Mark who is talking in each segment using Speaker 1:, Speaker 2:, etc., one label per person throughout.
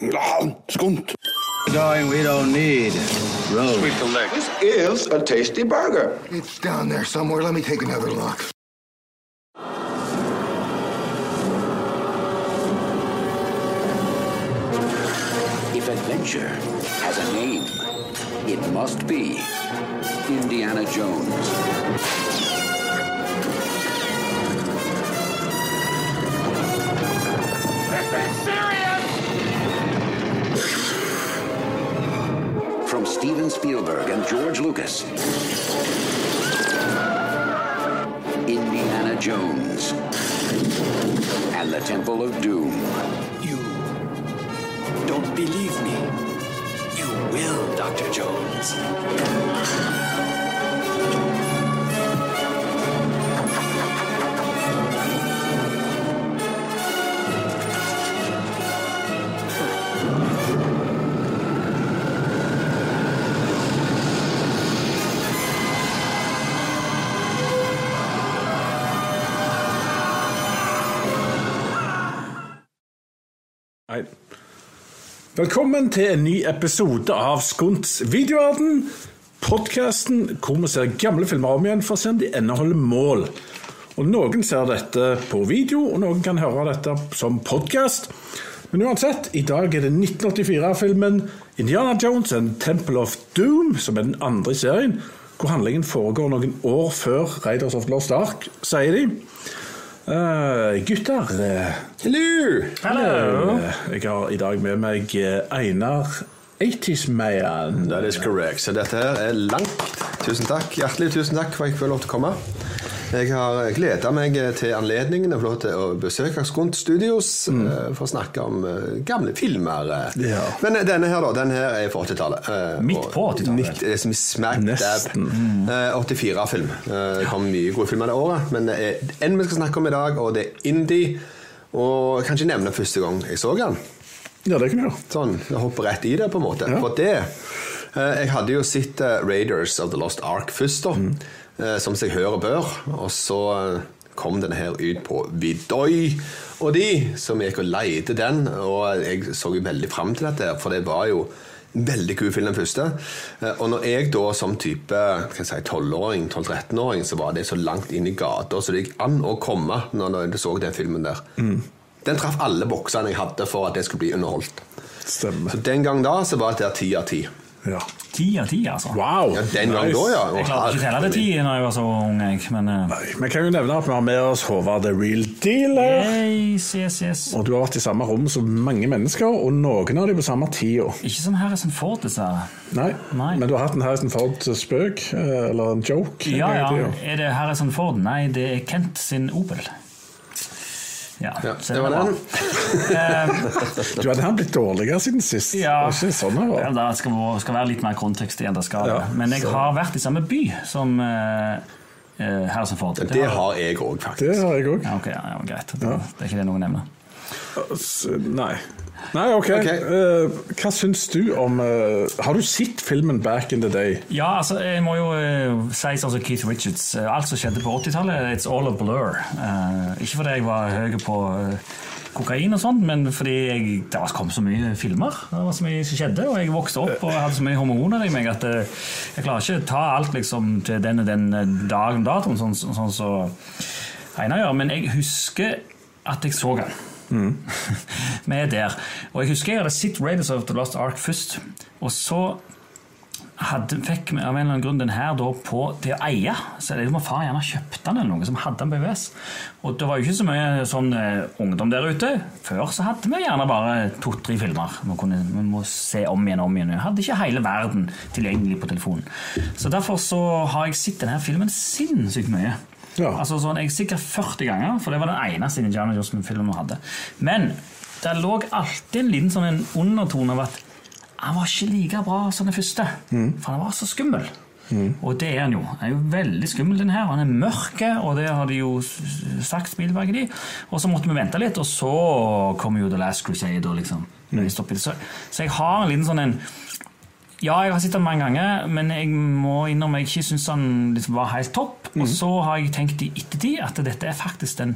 Speaker 1: Ja, skumt.
Speaker 2: Going, we don't need roads.
Speaker 3: is a tasty burger.
Speaker 1: It's down there somewhere. Let me take another look.
Speaker 4: If adventure has a name, it must be Indiana Jones. From Steven Spielberg and George Lucas. Indiana Jones and the Temple of Doom.
Speaker 5: You don't believe me. You will, Dr. Jones.
Speaker 6: Nei. Velkommen til en ny episode av Skunts videoverden. Podkasten hvor vi ser gamle filmer om igjen for å se om de inneholder mål. Og Noen ser dette på video, og noen kan høre dette som podkast. Men uansett, i dag er det 1984-filmen 'Indiana Jones and Temple of Doom', som er den andre i serien, hvor handlingen foregår noen år før 'Raiders of Lost Ark', sier de. Eh, gutter eh, Hello! Eh, Jeg har i dag med meg eh, Einar 80's Man.
Speaker 7: That is correct. Så dette her er langt. Tusen takk. Hjertelig tusen takk for at jeg får lov til å komme. Jeg har gleda meg til anledningen og få lov til å besøke Skunt Studios eh, for å snakke om eh, gamle filmer.
Speaker 6: Ja.
Speaker 7: Men eh, denne her, da. Den her er fra 80-tallet. eh,
Speaker 8: Midt
Speaker 7: og-
Speaker 8: på 80-tallet.
Speaker 7: Midt, eh, som smack dab.
Speaker 6: Nesten.
Speaker 7: Eh, 84-film. Eh, Det kom mye gode filmer det året, men det er en vi skal snakke om i dag, og det er indie. Og jeg kan ikke nevne første gang jeg så den.
Speaker 6: Ja, det kan du gjøre.
Speaker 7: Sånn, jeg hopper rett i det på en måte. For det eh, Jeg hadde jo sett eh, Raiders of the Lost Ark først, da. eh, som seg hør og bør. Og så eh, kom den her ut på Vidøy og de, som gikk og leide den. Og jeg så jo veldig fram til dette, for det var jo en veldig kul film, den første. Eh, Og når jeg da som type hva skal jeg si, 12-åring, 12-13-åring, så var det så langt inn i gata så det gikk an å komme når jeg så den filmen der. Den traff alle boksene jeg hadde for at jeg skulle bli underholdt.
Speaker 6: Stemmer.
Speaker 7: Så den gang da så var det der ti av ti.
Speaker 6: Ja.
Speaker 8: Ti av ti, altså.
Speaker 6: Wow!
Speaker 7: Ja, den gang da, ja.
Speaker 8: Jeg klarte ikke å telle til ti da jeg var så ung, jeg. Men eh,
Speaker 6: Vi kan jo nevne at vi har med oss Håvard The Real Deal. her.
Speaker 8: yes, yes, yes.
Speaker 6: Og du har vært i samme rom som mange mennesker, og noen av dem på samme tida.
Speaker 8: Ikke som Harrison Ford, dessverre.
Speaker 6: Nei.
Speaker 8: Nei.
Speaker 6: Men du har hatt en Harrison Ford-spøk, eh, eller en joke. en
Speaker 8: Ja,
Speaker 6: gang i
Speaker 8: ja.
Speaker 6: tida.
Speaker 8: Er det Harrison Ford? Nei, det er Kent sin Opel. Ja,
Speaker 7: Ja,
Speaker 8: så
Speaker 7: det var
Speaker 8: bra.
Speaker 7: den.
Speaker 6: Du hadde han blitt dårligere siden sist. Det
Speaker 8: Ja.
Speaker 6: var ikke sånn det
Speaker 8: Ja,
Speaker 6: var.
Speaker 8: det skal, være- skal være litt mer kontekst igjen. Det skal. det.
Speaker 6: Ja,
Speaker 8: Men jeg har vært i samme by som eh, eh, Harrison Ford. Det
Speaker 7: Det
Speaker 8: har-
Speaker 7: har jeg òg,
Speaker 6: Det
Speaker 7: faktisk.
Speaker 6: har jeg òg.
Speaker 8: ja, ok, ja, ja, greit. Det, det er ikke det noen nevner.
Speaker 6: S- Altså, Nei. Nei, ok.
Speaker 7: Ok.
Speaker 6: Eh, hva syns du om eh, Har du sett filmen 'Back in the Day'?
Speaker 8: Ja, altså, jeg må jo eh, si sånn som Keith Richards. eh, alt som skjedde på 80-tallet, it's all a blur. Eh, ikke fordi jeg var høy på eh, kokain og sånt, men fordi jeg, det var- kom så mye filmer. Det var så mye som skjedde, og jeg vokste opp og hadde så mye hormoner i meg at eh, jeg klarer ikke ta alt liksom, til den og den eh, dagen datoen, sånn som sånn, så Einar gjør. Men jeg husker at jeg så den. Vi er der. Og jeg husker jeg hadde sett Raiders of the Lost Ark først, og så hadde, fikk vi av en eller annen grunn den her da på til å eie. Så det er jo om far gjerne kjøpte den eller noe som hadde en BVS. Og det var jo ikke så mye sånn eh, ungdom der ute. Før så hadde vi gjerne bare to-tre filmer vi, kunne, vi må se om igjen og om igjen. Vi hadde ikke hele verden tilgjengelig på telefonen. Så derfor så har jeg sett denne filmen sinnssykt mye.
Speaker 6: Ja.
Speaker 8: Altså sånn, jeg Sikkert 40 ganger, for det var den eneste Indiana Jones-filmen vi hadde. Men det lå alltid en liten sånn en undertone av at han var ikke like bra som den første, for han var så skummel. Og det er han jo. Han er jo veldig skummel, den her. Han er mørk, og det har de jo s- s- sagt, Spielberg og de. Og så måtte vi vente litt, og så kom jo The Last Crusade. Og liksom. stoppet. Så, så jeg har en liten sånn en ja, jeg har sett den mange ganger, men jeg må innrømme jeg ikke syns den liksom var helt topp. Og så har jeg tenkt i ettertid at dette er faktisk den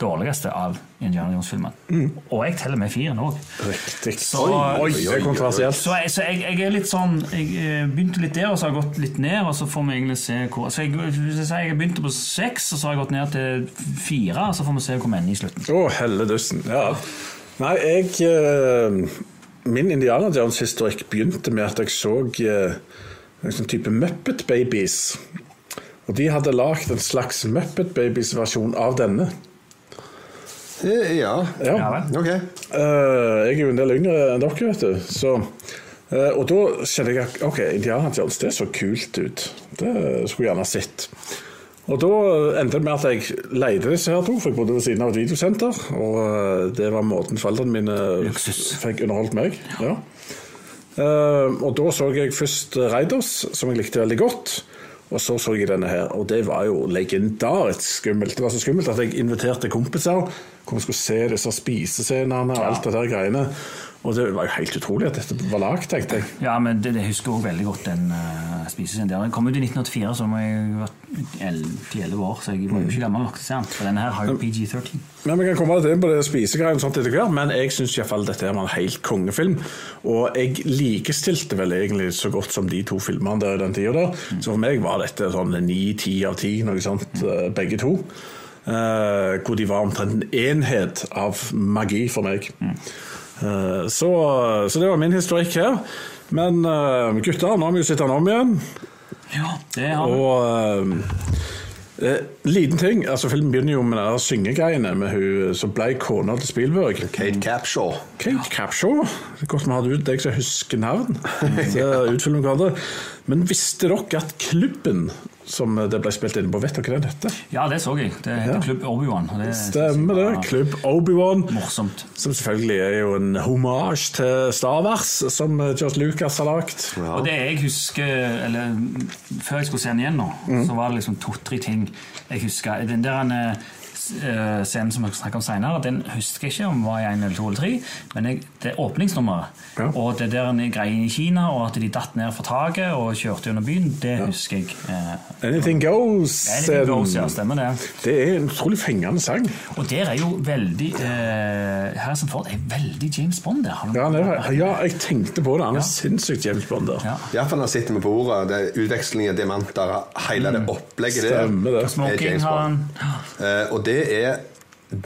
Speaker 8: dårligste av Indiana Jones-filmene. Og jeg teller med firen òg.
Speaker 6: Riktig.
Speaker 8: Så-
Speaker 6: oi, det er kontroversielt.
Speaker 8: Så, jeg, så jeg, jeg er litt sånn Jeg eh, begynte litt der, og så har jeg gått litt ned. Og så får vi egentlig se hvor Så jeg, hvis jeg, sier jeg begynte på seks, og så har jeg gått ned til fire. Og så får vi se hvor vi ender i slutten.
Speaker 6: Å, helledussen. Ja. Nei, jeg eh, Min Indiana Jones-historikk begynte med at jeg så eh, en sånn type Muppet Babies. Og de hadde lagd en slags Muppet Babies-versjon av denne.
Speaker 7: Eh, Ja.
Speaker 6: Ja.
Speaker 8: Ja vel?
Speaker 7: Ok.
Speaker 6: Eh, jeg er jo en del yngre enn dere, vet du. Så, eh, og da kjente jeg at OK, Indiana Jones, det så kult ut. Det skulle jeg gjerne ha sett. Og da endte det med at jeg leide disse her to, for jeg bodde ved siden av et videosenter. Og eh, det var måten foreldrene mine
Speaker 8: Luksus.
Speaker 6: fikk underholdt meg. Ja. Eh, og da så jeg først Raiders, som jeg likte veldig godt. Og så så jeg denne her, og det var jo legendarisk skummelt. Det var så skummelt at jeg inviterte kompiser. Hvor vi skulle se disse spisescenene og alt det der greiene. Og det var jo helt utrolig at dette var lagd, tenkte jeg.
Speaker 8: Ja, men det, det husker jeg også veldig godt den uh, spisescenen der. Den kom ut i 1984, så må jeg ha vært 11 år, så jeg var
Speaker 6: Mm.
Speaker 8: jo ikke gammel nok til å se den. For denne her har jo PG-13.
Speaker 6: Men vi kan komme litt inn på det spisegreiene sånt etter hvert, men jeg syns iallfall dette her var en helt kongefilm. Og jeg likestilte vel egentlig så godt som de to filmene der i den tida der. Så for meg var dette sånn ni-ti av ti, noe sånt, eh, begge to. Eh, hvor de var omtrent en enhet av magi for meg. Eh, så, så det var min historikk her. Men eh, gutter, nå har vi jo sett den om igjen.
Speaker 8: Ja, det har vi.
Speaker 6: Og eh, eh, liten ting, altså filmen begynner jo med den der syngegreiene med hun som ble kona til Spielberg.
Speaker 7: Kate Capshaw.
Speaker 6: Kate Capshaw. Det er godt vi hadde ut deg som husker navn. Så utfyller vi hverandre. Men visste dere at klubben som det ble spilt inne på, vet dere hva den heter?
Speaker 8: Ja, det så jeg. Det heter
Speaker 6: Ja.
Speaker 8: Klubb Obi-Wan. og det synes Eh, jeg
Speaker 6: Stemmer det.
Speaker 8: var
Speaker 6: Klubb Obi-Wan.
Speaker 8: Morsomt.
Speaker 6: Som selvfølgelig er jo en hommage til Star Wars, som eh, George Lucas har lagd.
Speaker 8: Og det jeg husker, eller mm, før jeg skulle se den igjen nå, så var det liksom to-tre ting jeg husker. Den der eh, s- eh, scenen som jeg snakker om senere, den husker jeg ikke om var i en eller to eller tre, men jeg, det er åpningsnummeret.
Speaker 6: Ja.
Speaker 8: Og det der greien i Kina, og at de datt ned fra taket og kjørte gjennom byen, det husker jeg. Eh,
Speaker 6: Anything
Speaker 8: det er
Speaker 6: Goes.
Speaker 8: litt goals, ja, stemmer det.
Speaker 6: Det er en utrolig fengende sang.
Speaker 8: Og der er jo veldig eh, Harrison Ford er veldig James Bond der. Har du-
Speaker 6: Ja, han er, ja, jeg tenkte på det. Han er sinnssykt James Bond der.
Speaker 8: Ja.
Speaker 7: Iallfall når han sitter med på ordet. Det er utveksling av diamanter, hele
Speaker 8: Mm.
Speaker 7: det opplegget der.
Speaker 6: Stemmer det.
Speaker 7: er
Speaker 8: Smoking
Speaker 7: James
Speaker 8: har
Speaker 7: Bond. Eh, og det er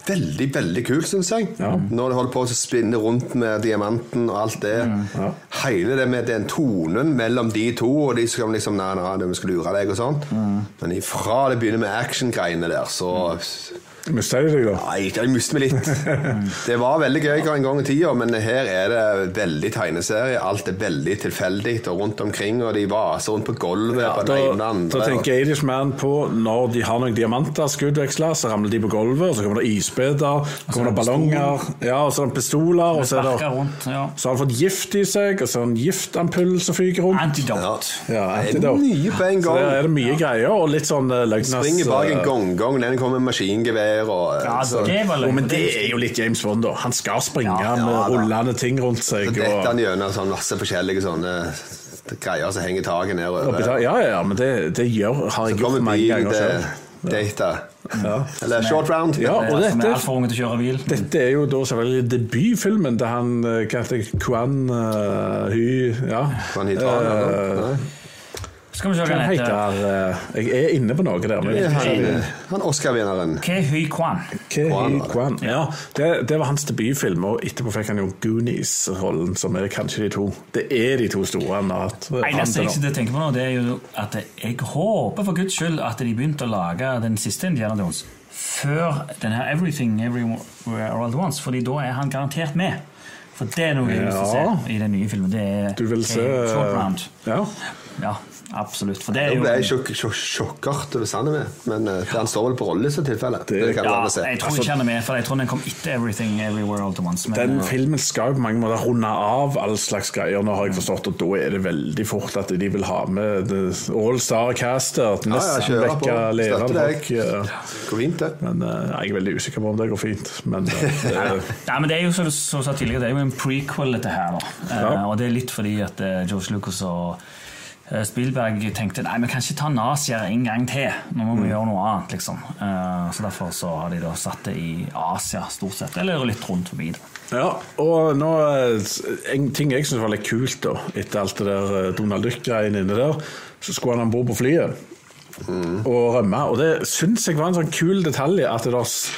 Speaker 7: veldig, veldig kult, syns jeg. Når det holder på å spinne rundt med diamanten og alt det.
Speaker 6: Mm,
Speaker 7: Hele det med den tonen mellom de to, og de skal liksom Nei, nei, nei, vi skal lure deg, og sånn.
Speaker 6: Mm.
Speaker 7: Men ifra det begynner med actiongreiene der, så
Speaker 6: Mista de deg, da?
Speaker 7: Nei, jeg mister meg litt. Det var veldig gøy en gang i tida, men her er det veldig tegneserie. Alt er veldig tilfeldig og rundt omkring, og de vaser rundt på gulvet på den ene og den
Speaker 6: Da,
Speaker 7: andre.
Speaker 6: da tenker Adish Man på når de har noen diamanter skal utveksle, så ramler de på gulvet, og så kommer det isbiter, kommer det ballonger, ja, og så er det pistoler, og så er
Speaker 8: Sparker
Speaker 6: det
Speaker 8: rundt. Ja.
Speaker 6: så har han fått gift i seg, og så er det en giftampull som fyker rundt.
Speaker 8: Antidote.
Speaker 7: Ja.
Speaker 6: Ja,
Speaker 7: det er
Speaker 6: antidote.
Speaker 7: mye på en
Speaker 6: Så
Speaker 7: gang.
Speaker 6: der er det mye greier, og litt sånn eh, løgnas...
Speaker 7: Springer bak en
Speaker 6: eh,
Speaker 7: gongong, den kommer med maskingevær og eh,
Speaker 8: Ja, altså,
Speaker 7: så-
Speaker 8: det var
Speaker 6: Jo,
Speaker 8: løgn.
Speaker 6: men det er jo litt James Bond, da. Han skal springe
Speaker 8: Ja,
Speaker 7: ja,
Speaker 6: med
Speaker 7: da.
Speaker 6: rullende ting rundt
Speaker 7: så
Speaker 6: seg.
Speaker 7: detter
Speaker 6: Og,
Speaker 7: han gjennom sånn masse forskjellige sånne greier som henger taket
Speaker 6: og
Speaker 7: nedover.
Speaker 6: betaler- ja, ja, ja, men det, det gjør, har jeg gjort
Speaker 7: Kommer
Speaker 6: mange
Speaker 7: bilen
Speaker 6: ganger
Speaker 7: til
Speaker 6: selv.
Speaker 7: data.
Speaker 8: Sånn
Speaker 7: Eller short round.
Speaker 6: Ja, og
Speaker 8: Som er
Speaker 6: dette
Speaker 8: altfor unge til å kjøre bil.
Speaker 6: Dette er jo da selvfølgelig debutfilmen til han eh, Hva heter det? Quan eh, Hy Ja.
Speaker 7: Kan hit ha den,
Speaker 6: Eh,
Speaker 7: eller? Nei.
Speaker 8: Skal vi se hva
Speaker 6: Hva
Speaker 8: den
Speaker 6: heter
Speaker 8: heter.
Speaker 6: han? Eh, Jeg er inne på noe der. Men
Speaker 7: Det er
Speaker 6: jeg vet
Speaker 7: Han, eh, han Oscar-vinneren.
Speaker 8: Ke Huy Kwan.
Speaker 6: ikke hva Hy Quan Ja, det, det var hans debutfilm, og etterpå fikk han jo Goonies-rollen, som er kanskje de to Det er de to store han har hatt.
Speaker 8: Nei,
Speaker 6: fram
Speaker 8: neste
Speaker 6: til
Speaker 8: jeg
Speaker 6: nå.
Speaker 8: sitter og tenker på nå, det er jo at jeg håper for guds skyld at de begynte å lage den siste Indiana Jones før den her Everything Everywhere All At Once, Fordi da er han garantert med. For det er noe jeg har lyst til å se i den nye filmen. Det er
Speaker 6: Du vil
Speaker 8: Ke
Speaker 6: se
Speaker 8: Short Round.
Speaker 6: Ja.
Speaker 8: Ja, absolutt. For det er
Speaker 7: Jeg
Speaker 8: jo
Speaker 7: ble sjokk, sjokk, sjokkert over sandet med, men eh, han står vel på rolle i så tilfelle. Det, kan
Speaker 8: ja,
Speaker 7: du alle se.
Speaker 8: jeg tror ikke han er med, for jeg tror den kom etter Everything Everywhere All At Once. Men,
Speaker 6: Den filmen skal jo på mange måter runde av all slags greier, nå har jeg forstått, og da er det veldig fort at de vil ha med det- All Star Caster.
Speaker 7: Ja, ja,
Speaker 6: Nesten
Speaker 7: kjører på.
Speaker 6: vekka
Speaker 7: Støtter
Speaker 6: lerende
Speaker 7: deg.
Speaker 6: folk. ja.
Speaker 7: Går Altså, fint, det.
Speaker 6: Men eh, jeg er veldig usikker på om det går fint. Men eh, det,
Speaker 8: Nei, men Det er jo som du som du sa tidligere, det er jo en prequel, dette her. da Eh,
Speaker 6: Ja.
Speaker 8: Og det er litt fordi at eh, George Lucas og eh, Spielberg tenkte nei, vi kan ikke ta nazier en gang til. Nå må vi
Speaker 6: Mm.
Speaker 8: gjøre noe annet. liksom. Eh, Så Derfor så har de da satt det i Asia, stort sett. Eller litt rundt forbi. da.
Speaker 6: Ja, og nå, eh, en ting jeg syntes var litt kult, da, etter alt det der eh, Donald Duck-greiene inne der, så skulle han om bord på flyet og rømme. Og det syns jeg var en sånn kul detalj, at det da s-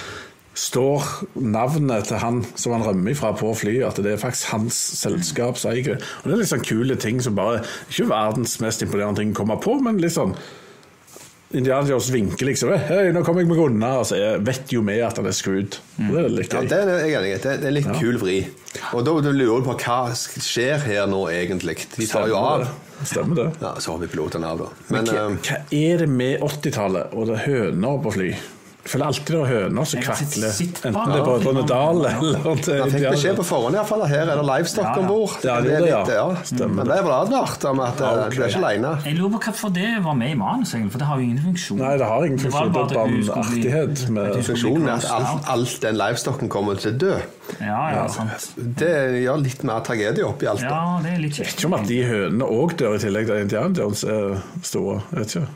Speaker 6: står navnet til han som han rømmer ifra på flyet, at det er faktisk hans selskap som eier det. Og det er litt sånn kule ting som bare Ikke verdens mest imponerende ting å komme på, men litt sånn Indiana Jones vinker liksom. Hei, nå kommer jeg meg unna. Altså, jeg vet jo vi at han er screwed. Og det er litt
Speaker 7: Ja,
Speaker 6: gøy.
Speaker 7: det er jeg enig i. Det det er litt kul vri. Og da lurer du på hva sk- skjer her nå, egentlig. De tar jo av.
Speaker 6: Stemmer det. Um,
Speaker 7: Ja, så har vi pilotene av, da. Men,
Speaker 6: hva,
Speaker 7: eh,
Speaker 6: hva er det med 80-tallet og det er høner på fly? Jeg føler alltid det er høner som
Speaker 8: Jeg har sett-
Speaker 6: kvakler.
Speaker 8: sett
Speaker 6: Enten
Speaker 8: barn-
Speaker 6: det er på
Speaker 8: Ja.
Speaker 6: Rønnedal eller til
Speaker 7: jeg fikk beskjed
Speaker 6: Indiana.
Speaker 7: på forhånd i hvert fall, at her er det livestock
Speaker 8: Ja, ja.
Speaker 7: om bord.
Speaker 6: Ja, det gjorde det, ja. Stemmer
Speaker 7: Men ble vel advart om at eh,
Speaker 6: Ja, ok.
Speaker 7: du er ikke aleine.
Speaker 8: Jeg lurer på hvorfor det var med i manus, egentlig, for det har jo ingen funksjon.
Speaker 6: Nei, det har ingen
Speaker 8: var
Speaker 6: funksjon.
Speaker 8: bare
Speaker 6: Det er bare
Speaker 8: at
Speaker 6: en
Speaker 8: hun skulle bli-
Speaker 6: artighet med-
Speaker 8: at hun skulle
Speaker 7: Funksjonen
Speaker 8: bli
Speaker 7: er at
Speaker 8: close
Speaker 7: all,
Speaker 8: out.
Speaker 7: all den livestocken kommer til å dø.
Speaker 8: Ja, ja, sant.
Speaker 7: Det gjør litt mer tragedie oppi alt.
Speaker 8: Ja,
Speaker 7: da.
Speaker 8: det er litt kjekt.
Speaker 6: Ikke om at de hønene òg dør i tillegg til Indiana Jones er store. Jeg vet ikke.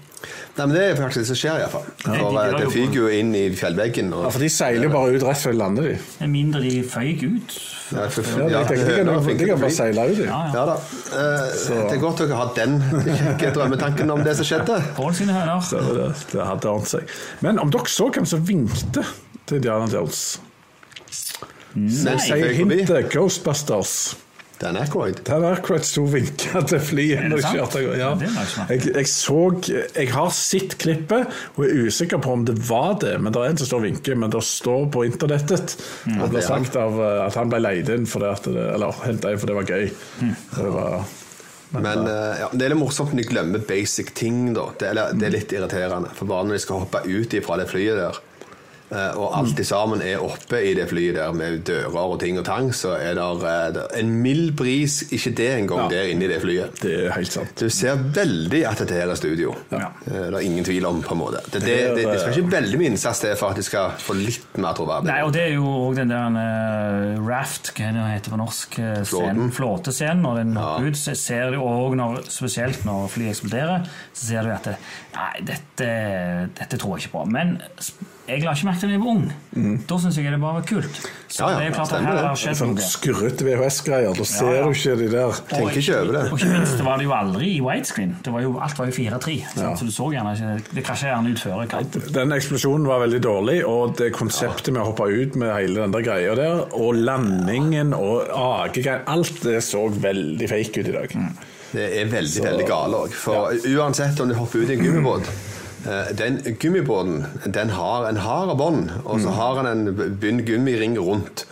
Speaker 7: Nei, men Det er faktisk det som skjer, iallfall.
Speaker 8: de
Speaker 7: For
Speaker 8: gjør
Speaker 7: eh, det
Speaker 8: jo-
Speaker 7: fyker jo inn i fjellveggen. Og,
Speaker 6: Ja, for de seiler jo bare ut rett før de lander, de.
Speaker 8: Med mindre de føyk ut.
Speaker 7: Nei, for-
Speaker 6: Ja,
Speaker 7: ja,
Speaker 6: jeg tenker, de,
Speaker 7: høner er
Speaker 6: kan,
Speaker 7: flinke
Speaker 6: de
Speaker 7: til å
Speaker 6: kan bare
Speaker 7: fly.
Speaker 6: seile ut, de.
Speaker 8: Ja, ja.
Speaker 7: Ja da. Eh, det er godt dere har den kjekke drømmetanken om det som skjedde.
Speaker 8: Pål sine høner.
Speaker 6: Det, det, det hadde ordnet seg. Men om dere så hvem som vinkte til Indiana Jones
Speaker 7: Den som
Speaker 6: Sier
Speaker 7: føyk forbi.
Speaker 6: hintet Ghostbusters.
Speaker 7: Dan Aykroyd.
Speaker 6: Dan Aykroyd sto og vinka til flyet.
Speaker 8: Er det
Speaker 6: når jeg
Speaker 8: sant?
Speaker 6: kjørte av gårde. Ja.
Speaker 8: Det var ikke
Speaker 6: Jeg, jeg, så, jeg har sett klippet og er usikker på om det var det. Men det er en som står og vinker, men det står på internettet.
Speaker 8: Mm.
Speaker 6: Og det
Speaker 7: Ja, det
Speaker 6: ble
Speaker 7: er han.
Speaker 6: sagt av, eh, at han ble leid inn for det, at det eller hentet inn for det var gøy.
Speaker 8: Mm.
Speaker 6: Det var,
Speaker 7: Men eh, ja, det er litt morsomt når de glemmer basic ting, da. Det, eller, det er litt irriterende. For bare når de skal hoppe ut fra det flyet der, eh, og alt de sammen er oppe i det flyet der med dører og ting og tang, så er der, eh, det en mild bris, ikke det engang, der inne i det flyet.
Speaker 6: det er helt sant.
Speaker 7: Du ser veldig at dette her er studio.
Speaker 8: Ja.
Speaker 7: Eh, Det er ingen tvil om, på en måte. Det, eh, det, det, det skal ikke veldig mye innsats til for at de skal få litt mer troverdig.
Speaker 8: Nei, og det er jo òg den der eh, raft, hva det heter på norsk, eh, scenen,
Speaker 7: Flåten.
Speaker 8: flåtescenen. Når den hopper ut, så ser du òg, spesielt når flyet eksploderer, så ser du at det, Nei, dette, dette tror jeg ikke på. Men sp- jeg la ikke merke til det da jeg var ung. Da syns jeg det bare var kult. Så
Speaker 7: Mm. Ja, ja,
Speaker 8: det er jo klart at
Speaker 7: stemmer
Speaker 8: her
Speaker 7: det.
Speaker 8: har skjedd
Speaker 6: Sånn
Speaker 8: noe.
Speaker 6: skurrete VHS-greier. Da ser
Speaker 8: ja.
Speaker 6: du ikke de der.
Speaker 8: Og
Speaker 7: Tenker ikke over det.
Speaker 8: Og ikke minst var det jo aldri i widescreen. Det var jo, alt var jo 4-3, sant? så du så gjerne ikke Det krasja gjerne ut før. Ikke?
Speaker 6: Den eksplosjonen var veldig dårlig, og det konseptet med å hoppe ut med hele den der greia der, og landingen og akegreier, alt det så veldig fake ut i dag.
Speaker 7: Mm. Det er veldig, veldig gale òg. For uansett om du hopper ut i en gummibåt eh, den gummibåten den har en hard bånd, og så har han en b- bunn gummiring rundt.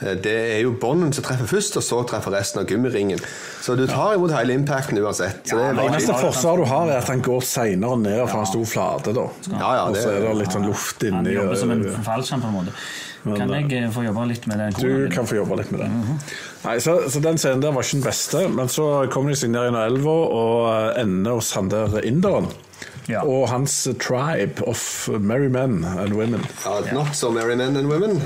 Speaker 7: Eh, Det er jo bånden som treffer først, og så treffer resten av gummiringen. Så du tar imot hele impacten uansett. Så det er
Speaker 6: Det
Speaker 7: bare
Speaker 6: eneste
Speaker 7: fint.
Speaker 6: forsvaret du har, er at han går seinere ned for han sto flate, da.
Speaker 7: Ja, ja,
Speaker 6: og
Speaker 7: det-
Speaker 6: så er det litt sånn luft
Speaker 8: Han
Speaker 6: inni
Speaker 8: jobber som en
Speaker 6: ø-
Speaker 8: fallskjerm på en måte. Kan jeg eh, få jobbe litt med den?
Speaker 6: Du kan få jobbe litt med det.
Speaker 8: Mhm.
Speaker 6: Nei, så, så den scenen der var ikke den beste, men så kommer de seg ned gjennom elva og eh, ender hos han der inderen.
Speaker 8: Ja.
Speaker 6: Og hans tribe of merry men and women.
Speaker 7: Ja, not so merry men and women.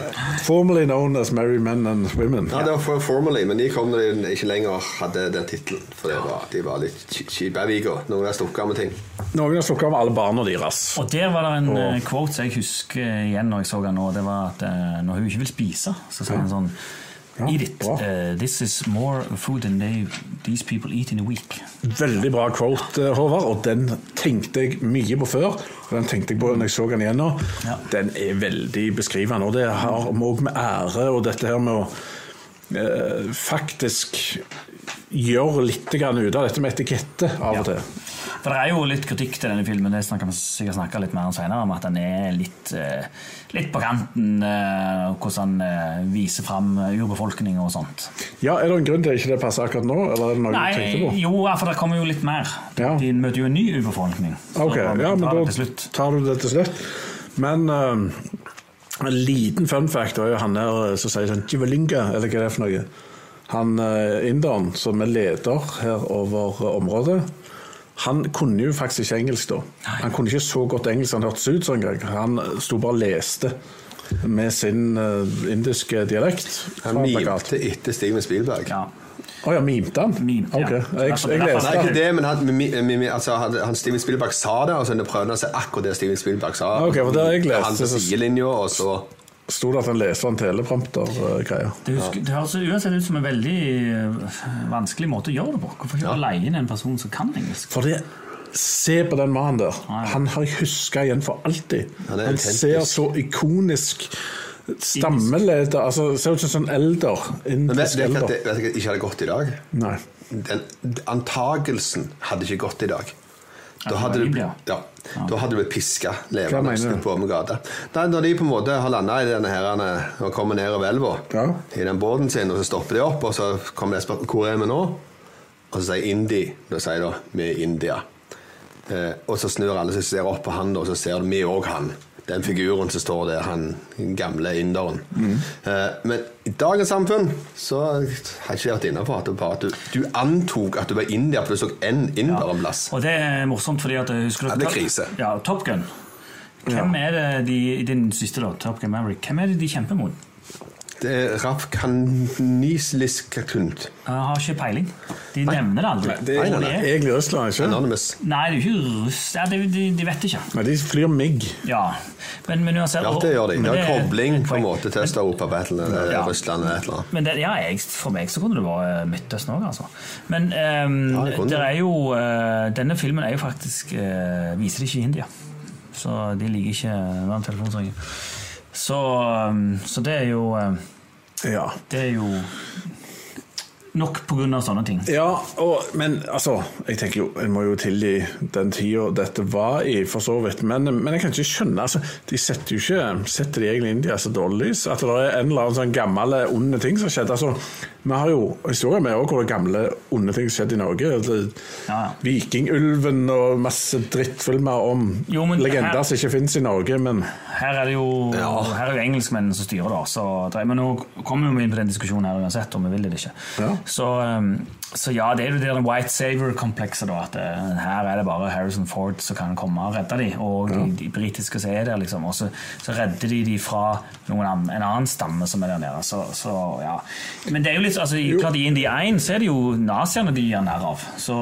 Speaker 6: Formerly known as merry men and women.
Speaker 7: Ja, det var for formally, men de kom når de ikke lenger hadde den tittelen. For det var, de var litt kjibaviga. Noen har stukket av med ting.
Speaker 6: Noen har slukket av alle barna deres.
Speaker 8: Og der var det en
Speaker 6: Og-
Speaker 8: eh, quote som jeg husker igjen når jeg så den nå. Det var at eh, når hun ikke vil spise, så sa hun sånn Eat it.
Speaker 6: bra.
Speaker 8: Eh, this is more food than they, these people eat in a week.
Speaker 6: Veldig bra quote, eh, Håvard, og den tenkte jeg mye på før. Og den tenkte jeg på når jeg så den igjen nå.
Speaker 8: Ja.
Speaker 6: Den er veldig beskrivende, og det har òg med ære og dette her med å eh, faktisk gjøre litt grann ut av dette med etikette av og til.
Speaker 8: For det er jo litt kritikk til denne filmen, det snakker vi sikkert snakke litt mer om senere, om at den er litt, eh, litt på kanten, eh, og hvordan den eh, viser fram urbefolkning og sånt.
Speaker 6: Ja, Er det en grunn til at ikke det passer akkurat nå, eller er det noe du tenkte
Speaker 8: Nei,
Speaker 6: på?
Speaker 8: jo, ja, for det kommer jo litt mer.
Speaker 6: Ja.
Speaker 8: De møter jo en ny urbefolkning. så
Speaker 6: Ok,
Speaker 8: vi
Speaker 6: ja,
Speaker 8: kan
Speaker 6: men
Speaker 8: ta det
Speaker 6: da
Speaker 8: til slutt.
Speaker 6: tar du det til slutt. Men eh, en liten fun fact er jo han der eh, som sier sånn Jivalinga, eller hva det er for noe. Han eh, inderen som er leder her over eh, området, han kunne jo faktisk ikke engelsk da. Han kunne ikke så godt engelsk han hørtes ut sånn. Han sto bare og leste. med sin eh, indiske dialekt. fra
Speaker 7: Han
Speaker 6: plakat.
Speaker 7: mimte etter Steven Spielberg.
Speaker 8: Ja.
Speaker 6: Å ja, mimte han?
Speaker 8: Mimte, ja.
Speaker 6: Ok, Jeg,
Speaker 8: Altså,
Speaker 6: jeg
Speaker 8: det
Speaker 7: Nei,
Speaker 8: er
Speaker 6: leste
Speaker 8: derfor-
Speaker 6: det.
Speaker 7: ikke det, men han, mi- mi- mi- altså, han, han Steven Spielberg sa det, altså, og så prøvde han å si akkurat det Steven Spielberg sa.
Speaker 6: Ok, for det har jeg lest.
Speaker 7: Han på sidelinja, og så
Speaker 6: Sto det at han leste en eh, teleprompter-greie?
Speaker 8: Det, husker, det høres uansett ut som en veldig eh, vanskelig måte å gjøre det på. Hvorfor ikke leie inn en person som kan engelsk?
Speaker 6: For det Se på den mannen der.
Speaker 8: ja.
Speaker 6: Han har jeg huska igjen for alltid.
Speaker 7: Han er
Speaker 6: Han
Speaker 7: autentisk.
Speaker 6: ser så ikonisk stammeleder altså Ser ut som en sånn elder.
Speaker 7: Men vet
Speaker 6: Indisk
Speaker 7: vet dere at
Speaker 6: elder.
Speaker 7: det vet dere at det ikke hadde gått i dag?
Speaker 6: Nei.
Speaker 7: Den antagelsen hadde ikke gått i dag. Da
Speaker 8: det
Speaker 7: hadde,
Speaker 8: var
Speaker 7: du,
Speaker 8: Biblia.
Speaker 7: ja, da hadde du blitt piska levende
Speaker 6: mener du?
Speaker 7: på åpen gate. Nei, Når de på en måte har landa i denne her, eh, og kommer ned over elva,
Speaker 6: Ja.
Speaker 7: i den båten sin, og så stopper de opp, og så kommer de og spør hvor er vi nå? Og så sier Indi. Da sier de vi er i India. Eh, og så snur alle seg og ser opp på han, da, og så ser vi òg han. Den figuren som står der, han gamle inderen. Eh, men i dagens samfunn så har jeg ikke vært innafor at, bare at du, du antok at du var indier, for du så en inder en plass.
Speaker 8: Og det er morsomt, fordi at eh, husker du
Speaker 7: Ja, det er krise.
Speaker 8: Ja, Top Gun. Hvem er det de, i din siste da, Top Gun Maverick, hvem er det de kjemper mot?
Speaker 7: Det er Rafkanisliskakunt.
Speaker 8: Jeg har ikke peiling. De nevner det aldri.
Speaker 6: Det er
Speaker 7: Nei, nei, nei.
Speaker 6: egentlig Russland, ikke
Speaker 7: Anonymous.
Speaker 8: Nei, det er jo ikke russ... Ja, de, de, de vet ikke.
Speaker 6: Nei, de flyr MIG.
Speaker 8: Ja, men, men uansett
Speaker 7: Ja, det gjør de.
Speaker 8: men
Speaker 7: Det er
Speaker 8: et
Speaker 7: kobling på en
Speaker 8: poeng.
Speaker 7: måte til Øst-Europa-battlen eller
Speaker 8: Ja.
Speaker 7: Russland eller et eller annet.
Speaker 8: Men det, ja, jeg, for meg så kunne det vært eh, Midtøsten òg, altså. Men ehm,
Speaker 7: Ja, det kunne
Speaker 8: det
Speaker 7: det.
Speaker 8: er jo, eh, denne filmen er jo faktisk eh, Viser det ikke i India. Så de ligger ikke Det var en telefon som ringer. Så, ehm, så det er jo eh,
Speaker 6: Ja.
Speaker 8: Det er jo nok på grunn av sånne ting.
Speaker 6: ja og, men altså Jeg tenker jo, En må jo tilgi den tida dette var i, for så vidt. Men, men jeg kan ikke skjønne altså, De setter jo ikke Setter de egentlig India i så dårlig lys? At det er en eller annen sånn gammel, onde ting som skjedde? Altså, vi har jo historier med også hvor det gamle, onde ting skjedde i Norge. Det-
Speaker 8: Ja, ja.
Speaker 6: Vikingulven og masse drittfilmer om
Speaker 8: Jo, men
Speaker 6: legender
Speaker 8: her-
Speaker 6: som ikke finnes i Norge, men
Speaker 8: Her er det jo, her er det jo engelskmennene som styrer, da. Så, det- men nå kommer vi inn på den diskusjonen her uansett, om vi vil det eller ikke.
Speaker 6: Ja.
Speaker 8: Så, um, så ja, det er jo det der white saver-komplekset, da. At eh, her er det bare Harrison Ford som kan komme og redde dem. Og de, de britiske som er der, liksom. Og så, så redder de dem fra noen annen, en annen stamme som er der nede. Så, så ja. Men det er jo litt altså, i- klart, i Indie 1 så er det jo naziene de gjør narr av. Så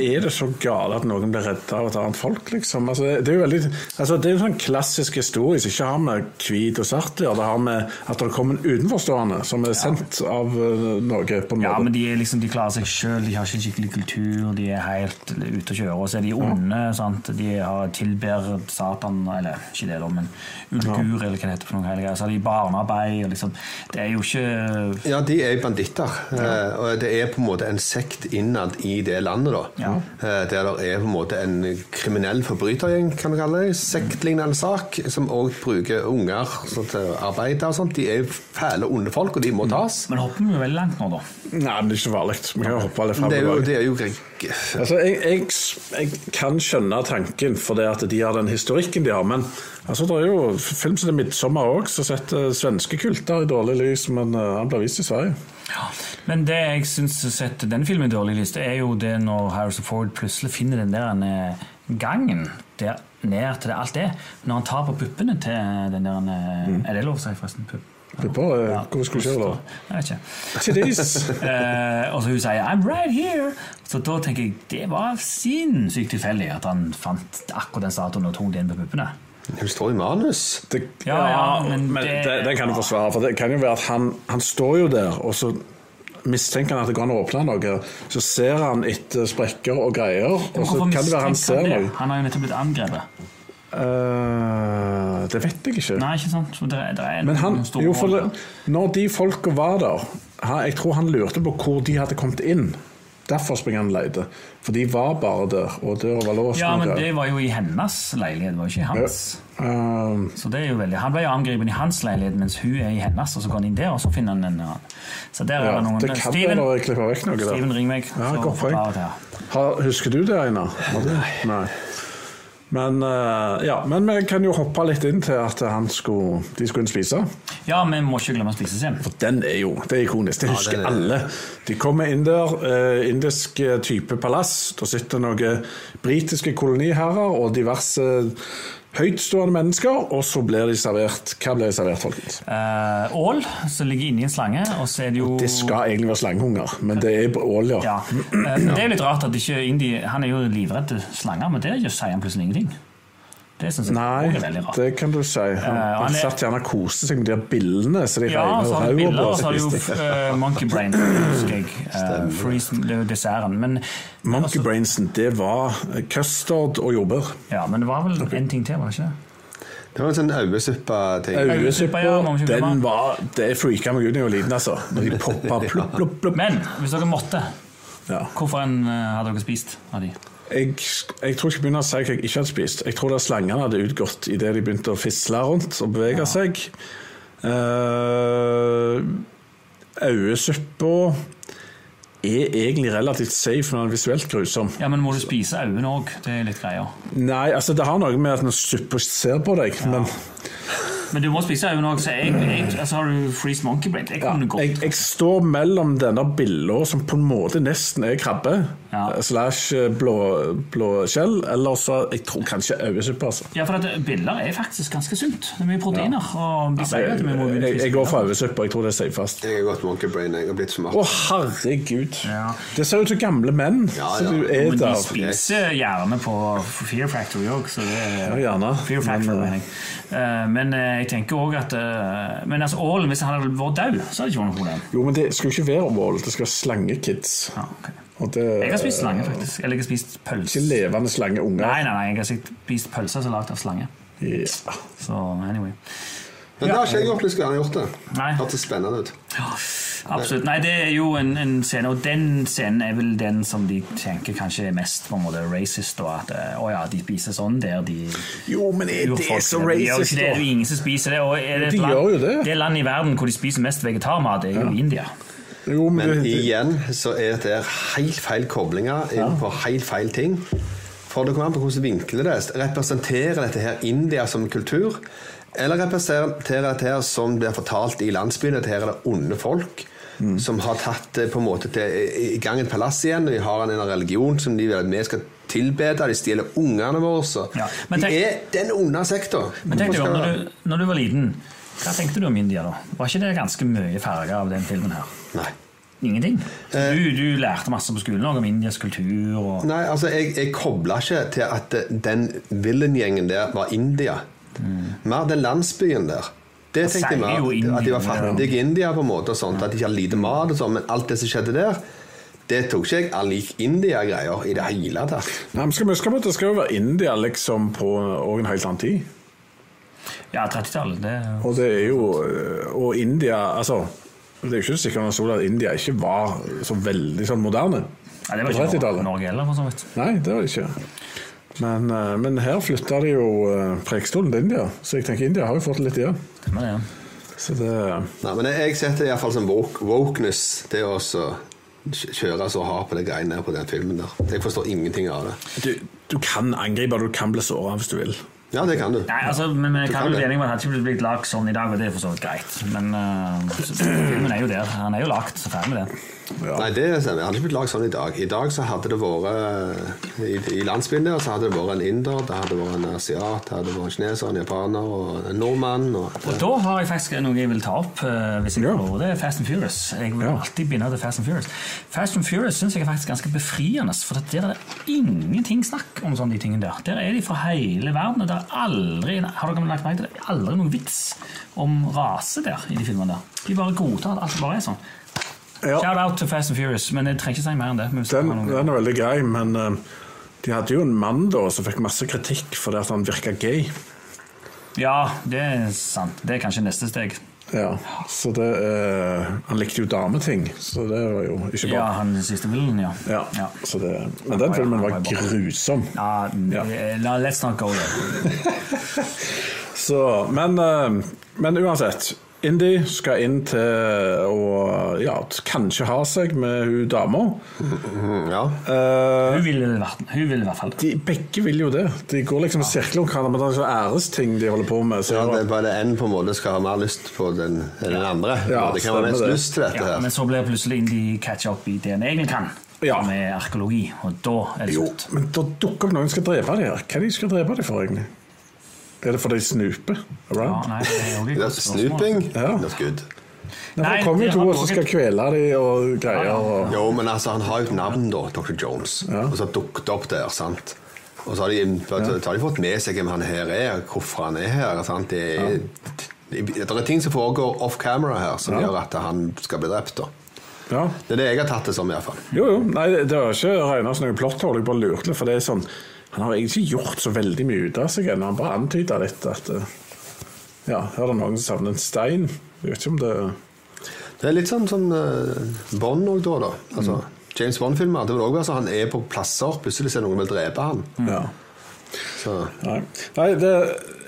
Speaker 6: Er det så gale at noen blir redda av et annet folk, liksom? Altså, det- det er jo veldig, altså, det er jo en sånn klassisk historie som ikke har med hvit og svart å gjøre. Det har med at det kommer en utenforstående som er sendt av eh, Norge, på en måte.
Speaker 8: Ja, men de, er liksom, de klarer seg sjøl, de har ikke en skikkelig kultur, de er helt ute å kjøre. Og så er de onde. sant? De har tilber Satan, eller ikke det, da, men ulgur, eller hva det heter. for noe helger. Så har de barnearbeid. og liksom, Det er jo ikke
Speaker 7: Ja, de er banditter. eh, Og det er på en måte en sekt innad i det landet, da.
Speaker 8: Ja.
Speaker 7: Eh, Der det er på en måte en kriminell forbrytergjeng, kan du kalle det. Sektlignende sak, som òg bruker unger så til å arbeide og sånt. De er fæle, onde folk, og de må tas.
Speaker 8: Men hopper vi veldig langt nå, da.
Speaker 6: Nei, men det er ikke farlig. Vi kan jo hoppe litt
Speaker 7: Men
Speaker 6: fram
Speaker 7: det er jo,
Speaker 6: og tilbake.
Speaker 7: det er jo grek-
Speaker 6: Altså, jeg, jeg, jeg kan skjønne tanken, for det at de har den historikken de har. Men altså, det er jo film som det er 'Midtsommer' òg, som setter svenske kulter i dårlig lys, men eh, han blir vist i Sverige.
Speaker 8: Ja. Men det jeg syns setter denne filmen i dårlig lys, det er jo det når Harrison Ford plutselig finner den der eh, gangen der ned til det alt er. Når han tar på puppene til den der eh, Er det lov å si, forresten? Pupp?
Speaker 6: Pupper, eh, hvorfor Mm. skulle du ikke gjøre det?
Speaker 8: Jeg vet ikke.
Speaker 6: Tidis!
Speaker 8: Eh, og så hun sier 'I'm right here'. Så da tenker jeg det var sinnssykt tilfeldig at han fant akkurat den statuen og tok den på puppene.
Speaker 7: Det står i manus.
Speaker 6: Det,
Speaker 8: Ja,
Speaker 6: ja,
Speaker 8: ja,
Speaker 6: men,
Speaker 8: men
Speaker 6: det,
Speaker 8: det-
Speaker 6: det, kan du forsvare. For det kan jo være at han, han står jo der, og så mistenker han at det går an å åpne noe. Så ser han etter sprekker og greier, og så
Speaker 8: Hvorfor
Speaker 6: kan det være han
Speaker 8: mistenker
Speaker 6: ser
Speaker 8: han det?
Speaker 6: noe.
Speaker 8: Han har jo nettopp blitt angrepet.
Speaker 6: Eh, det vet jeg ikke.
Speaker 8: Nei, ikke sant? Så det, er- det er
Speaker 6: Men han,
Speaker 8: noen store
Speaker 6: jo, for det,
Speaker 8: roller.
Speaker 6: når de folka var der han, Jeg tror han lurte på hvor de hadde kommet inn. Derfor springer han og leter. For de var bare der, og døra var låst.
Speaker 8: Ja,
Speaker 6: og
Speaker 8: men
Speaker 6: greier.
Speaker 8: det var jo i hennes leilighet, det var jo ikke i hans.
Speaker 6: Eh,
Speaker 8: Så det er jo veldig Han ble jo angrepet i hans leilighet, mens hun er i hennes, og så går han inn der, og så finner han en annen. Så der
Speaker 6: ja,
Speaker 8: er det noen
Speaker 6: det kan
Speaker 8: Steven,
Speaker 6: være jeg klipper vekk noe der.
Speaker 8: Steven, ring meg.
Speaker 6: Ja,
Speaker 8: så
Speaker 6: godt poeng.
Speaker 8: forklarer det her.
Speaker 6: Har, husker du det, Einar? Har du? Nei. Men, eh, ja, men vi kan jo hoppe litt inn til at han skulle, de skulle inn spise.
Speaker 8: Ja, vi må ikke glemme å spise sen.
Speaker 6: For den er jo det er ikonisk. Det husker
Speaker 7: den er-
Speaker 6: alle. De kommer inn der. eh, indisk eh, type palass. Da sitter noen britiske koloniherrer og diverse høytstående mennesker, og så blir de servert Hva blir de servert, folkens?
Speaker 8: Eh, Ål som ligger inni en slange, og så er det jo
Speaker 6: Det skal egentlig være slangehunger, men det er ål, ja.
Speaker 8: ja. Eh, Men det er jo litt rart at ikke Indi Han er jo livredd slanger, men det gjør- sier han plutselig ingenting. Det syns jeg
Speaker 6: Nei,
Speaker 8: også er veldig rart.
Speaker 6: det kan du si. Han,
Speaker 8: Eh, han
Speaker 6: han
Speaker 8: er-
Speaker 6: satt gjerne og koste seg med de der billene. Så de
Speaker 8: Ja,
Speaker 6: regner
Speaker 8: så
Speaker 6: og
Speaker 8: har du
Speaker 6: rauer
Speaker 8: bilder,
Speaker 6: på
Speaker 8: og så har du jo
Speaker 6: siste.
Speaker 8: eh, Monkey Brain, husker jeg. Eh, freeze, det er jo desserten. Men, altså-
Speaker 6: Monkey brainsen, det var custard og jordbær.
Speaker 8: ja, men det var vel en ting til, var det ikke? det?
Speaker 7: Det var en sånn auesuppa-ting.
Speaker 8: Øyesuppa, ja, må vi ikke glemme.
Speaker 6: den var Det freaka meg ut da jeg var liten, altså. Når de poppa plopp, plopp, plopp.
Speaker 8: Men hvis dere måtte,
Speaker 6: Ja.
Speaker 8: hvorfor en eh, hadde dere spist av de?
Speaker 6: Jeg, jeg tror ikke jeg begynner å si hva jeg ikke hadde spist. Jeg tror det slangene hadde utgått idet de begynte å fisle rundt og bevege seg. Uh, Øyesuppa er egentlig relativt safe, men den er visuelt grusom.
Speaker 8: Ja, men må du spise øynene òg? Det er litt greia.
Speaker 6: Nei, altså det har noe med at når suppa ser på deg, men
Speaker 8: Men du må spise øynene òg, så jeg, jeg, altså har du freeze monkey brain. Det
Speaker 6: ja,
Speaker 8: kunne
Speaker 6: jeg,
Speaker 8: gått.
Speaker 6: jeg står mellom denne billa som på en måte nesten er krabbe,
Speaker 8: Ja.
Speaker 6: eh, slash eh, blå, blåskjell, eller så Jeg tror kanskje øyesuppe, altså.
Speaker 8: Ja, for at biller er faktisk ganske sunt. Det er mye proteiner. Og de sier jo at vi må begynne å
Speaker 6: Jeg,
Speaker 8: spise
Speaker 6: jeg går for
Speaker 8: biller.
Speaker 6: øyesuppe, jeg tror det er safest.
Speaker 7: Jeg har gått monkey brain. Jeg har blitt
Speaker 6: Å,
Speaker 7: for matt.
Speaker 6: herregud.
Speaker 8: Ja.
Speaker 6: Det ser ut som gamle menn
Speaker 7: Ja,
Speaker 6: som
Speaker 7: ja.
Speaker 6: du er
Speaker 8: Men de
Speaker 6: der.
Speaker 8: spiser gjerne på Fear Factory òg, så det
Speaker 6: Ja, gjerne.
Speaker 8: Fear Factory,
Speaker 6: Men, eh,
Speaker 8: mener jeg. Eh, Men eh, jeg tenker òg at eh, Men altså, Ålen, hvis han hadde vært død, så hadde det ikke vært noe problem.
Speaker 6: Jo, men det skal jo ikke være ål, det skal være slangekids.
Speaker 8: Ja, ok.
Speaker 6: Og det
Speaker 8: Jeg har spist slange, faktisk. Eller jeg har spist pølse.
Speaker 6: Ikke levende slangeunger.
Speaker 8: Nei, nei, nei, jeg har spist pølser som er lagd av slange.
Speaker 6: Ja.
Speaker 8: Så anyway.
Speaker 7: Men det har ikke jeg gjort. Jeg skulle gjerne gjort det.
Speaker 8: Nei.
Speaker 7: Hørtes spennende ut.
Speaker 8: Ja, Absolutt. Nei, det er jo en, en scene, og den scenen er vel den som de tenker kanskje er mest på en måte racist, og at eh, å ja, de spiser sånn der de
Speaker 6: Jo, men er det
Speaker 8: urfolk-
Speaker 6: så
Speaker 8: De gjør jo
Speaker 6: racist,
Speaker 8: ikke det, det er
Speaker 6: da?
Speaker 8: jo ingen som spiser det. Og er det
Speaker 6: De
Speaker 8: et land,
Speaker 6: gjør jo det.
Speaker 8: det landet i verden hvor de spiser mest vegetarmat, er jo India.
Speaker 6: Jo, men,
Speaker 7: Men
Speaker 6: det-
Speaker 7: igjen så er det helt feil koblinger inn på helt feil ting. For det kommer an på hvordan du vinkler det. Representerer dette her India som kultur? Eller representerer dette her som blir fortalt i landsbyen, at her er det onde folk?
Speaker 8: Mm.
Speaker 7: Som har tatt eh, på en måte til, i- i gang et palass igjen. og De har en, en religion som de vil at vi skal tilbede. De stjeler ungene våre. Så.
Speaker 8: Ja, men tenk-
Speaker 7: de er den onde sektor.
Speaker 8: Men tenk deg om,
Speaker 7: Hvorfor skal-
Speaker 8: når du, når du var liten, hva tenkte du om India da? Var ikke det ganske mye farger av den filmen her?
Speaker 7: Nei.
Speaker 8: Ingenting?
Speaker 7: Eh.
Speaker 8: Du, du lærte masse på skolen også om Indias kultur og
Speaker 7: Nei, altså, jeg, jeg kobla ikke til at eh, den villengjengen der var India. Mer den landsbyen der. Det
Speaker 8: Da
Speaker 7: tenkte jeg
Speaker 8: sier Mm. jo
Speaker 7: mer,
Speaker 8: India,
Speaker 7: At de var
Speaker 8: ja.
Speaker 7: fattige i India, på en måte, og sånt, at de ikke hadde lite mat og sånn. Men alt det som skjedde der, det tok ikke jeg all lik India-greier i det hele tatt.
Speaker 6: Nei, men skal vi huske på at det skal jo være India liksom på og en helt annen tid.
Speaker 8: Ja, 30-tallet. det-
Speaker 6: Og det er jo eh, Og India Altså, det er jo ikke sikkert man så at India ikke var så veldig sånn moderne.
Speaker 8: Ja, det var
Speaker 6: på
Speaker 8: ikke Norge-
Speaker 6: 30-tallet.
Speaker 8: Norge heller, for så vidt.
Speaker 6: Nei, det var det ikke. Men, eh, men her flytta de jo eh, prekestolen til India, så jeg tenker India har jo fått litt igjen.
Speaker 8: Stemmer det. ja.
Speaker 6: Så det eh,
Speaker 7: Nei, men jeg setter det iallfall som woke, wokeness, det å så kj- kjøre så hardt på det greiene der på den filmen der. Jeg forstår ingenting av det.
Speaker 6: Du, du kan angripe, du kan bli såra hvis du vil.
Speaker 7: Ja, det kan du.
Speaker 8: Nei, altså, men, men jeg
Speaker 7: Du
Speaker 8: kan
Speaker 7: kan
Speaker 8: jo bli
Speaker 7: det.
Speaker 8: enig med at han ikke ble blitt lagd sånn i dag, og det er for så vidt greit. Men eh, så- filmen er jo der. Han er jo lagd, så ferdig med det.
Speaker 7: Nei, det stemmer. Jeg hadde ikke blitt lagd sånn i dag. I dag så hadde det vært i, I landsbyen der så hadde det vært en inder, det hadde vært en asiat, det hadde vært en kineser, en japaner og en nordmann. Og,
Speaker 8: Og da har jeg faktisk noe jeg vil ta opp, eh, hvis jeg
Speaker 6: Ja.
Speaker 8: får lov. Det er Fast and Furious. Jeg vil
Speaker 6: Ja.
Speaker 8: alltid binde til Fast and Furious. Fast and Furious syns jeg er faktisk ganske befriende, for at der er det ingenting snakk om sånne de tingene der. Der er de fra hele verden, og det er aldri har dere lagt merke til det? Det er aldri noen vits om rase der i de filmene der. De bare godtar at alt bare er sånn.
Speaker 6: Ja,
Speaker 8: Shout out til Fast and Furious, men jeg trenger ikke si mer enn det. men hvis
Speaker 6: den,
Speaker 8: dere har noe-
Speaker 6: den er veldig grei, men eh, de hadde jo en mann da som fikk masse kritikk fordi at han virka gay.
Speaker 8: Ja, det er sant. Det er kanskje neste steg.
Speaker 6: Ja, så det eh, Han likte jo dameting, så det var jo ikke bra.
Speaker 8: Ja, han siste villen, ja.
Speaker 6: Ja,
Speaker 8: ja.
Speaker 6: Så det, men den filmen var grusom.
Speaker 8: Ja, n-
Speaker 6: Ja.
Speaker 8: eh, la- Let's not go there.
Speaker 6: Så, men, eh, men uansett. Indy skal inn til å ja, kanskje ha seg med hun dama. Mm,
Speaker 7: ja.
Speaker 6: Eh,
Speaker 8: Hun ville vært Hun ville i hvert fall det.
Speaker 6: de, begge vil jo det. De går liksom i sirkler om hverandre. Men det er sånne æresting de holder på med. Så
Speaker 7: ja,
Speaker 6: det
Speaker 7: det
Speaker 6: var,
Speaker 7: er bare en på en måte skal ha mer lyst på den enn den andre.
Speaker 6: Ja,
Speaker 7: det kan være
Speaker 6: stemmer
Speaker 7: mest
Speaker 6: det.
Speaker 7: lyst til dette
Speaker 8: Ja, men
Speaker 7: her.
Speaker 8: så blir plutselig Indy catcha opp i det en egentlig kan,
Speaker 6: Ja.
Speaker 8: med arkeologi. Og da er det
Speaker 6: jo,
Speaker 8: slutt.
Speaker 6: men da dukker opp noen som skal drepe de her. Hva er det de skal drepe de for, egentlig? Er det fordi de snuper?
Speaker 8: Ja,
Speaker 6: Around?
Speaker 8: nei, det er jo ikke et
Speaker 7: Det er
Speaker 8: godt spørsmål.
Speaker 7: Snooping?
Speaker 6: Ja.
Speaker 7: Not
Speaker 6: Nei,
Speaker 7: good.
Speaker 6: for
Speaker 8: Nei,
Speaker 6: det kommer
Speaker 8: det
Speaker 6: jo to
Speaker 8: har
Speaker 6: som skal
Speaker 8: vært-
Speaker 6: kvele de og greier.
Speaker 8: Ja, ja.
Speaker 6: Og...
Speaker 7: Jo, men altså, han har jo et navn, da, Dr. Jones, og så har dukket opp der, sant. Og så har de, så har de fått med seg hvem han her er, hvorfor han er her. sant? Det er, det er ting som foregår off camera her, som gjør at han skal bli drept. da.
Speaker 6: Ja.
Speaker 7: Det er det jeg har tatt det som, iallfall.
Speaker 6: Jo, jo. Nei, det det var ikke Reinars noe plotthål. Jeg bare lurte litt, for det er sånn Han har egentlig ikke gjort så veldig mye ut av seg ennå. Han bare antyda litt at eh, Ja, her er det noen som savner en stein. Jeg vet ikke om det
Speaker 7: Det er litt sånn som eh, Bond òg, da. da. Altså, James Bond-filmer. Det vil også være sånn Han er på plasser, plutselig ser noen vil drepe han.
Speaker 6: Ja.
Speaker 7: Så,
Speaker 6: Nei, Nei det,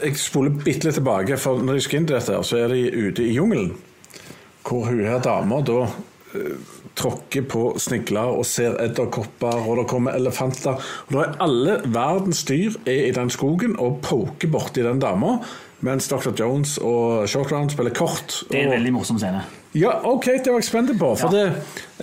Speaker 6: jeg spoler bitte litt tilbake, for når de skal inn til dette, her, så er de ute i jungelen. Hvor hun her dama da eh, tråkker på snegler og ser edderkopper, og det kommer elefanter. Og da er alle verdens dyr er i den skogen og poker borti den dama, mens Dr. Jones og Short Round spiller kort.
Speaker 8: Det er en
Speaker 6: og-
Speaker 8: veldig morsom scene.
Speaker 6: ja, ok, det var jeg spent på. For det,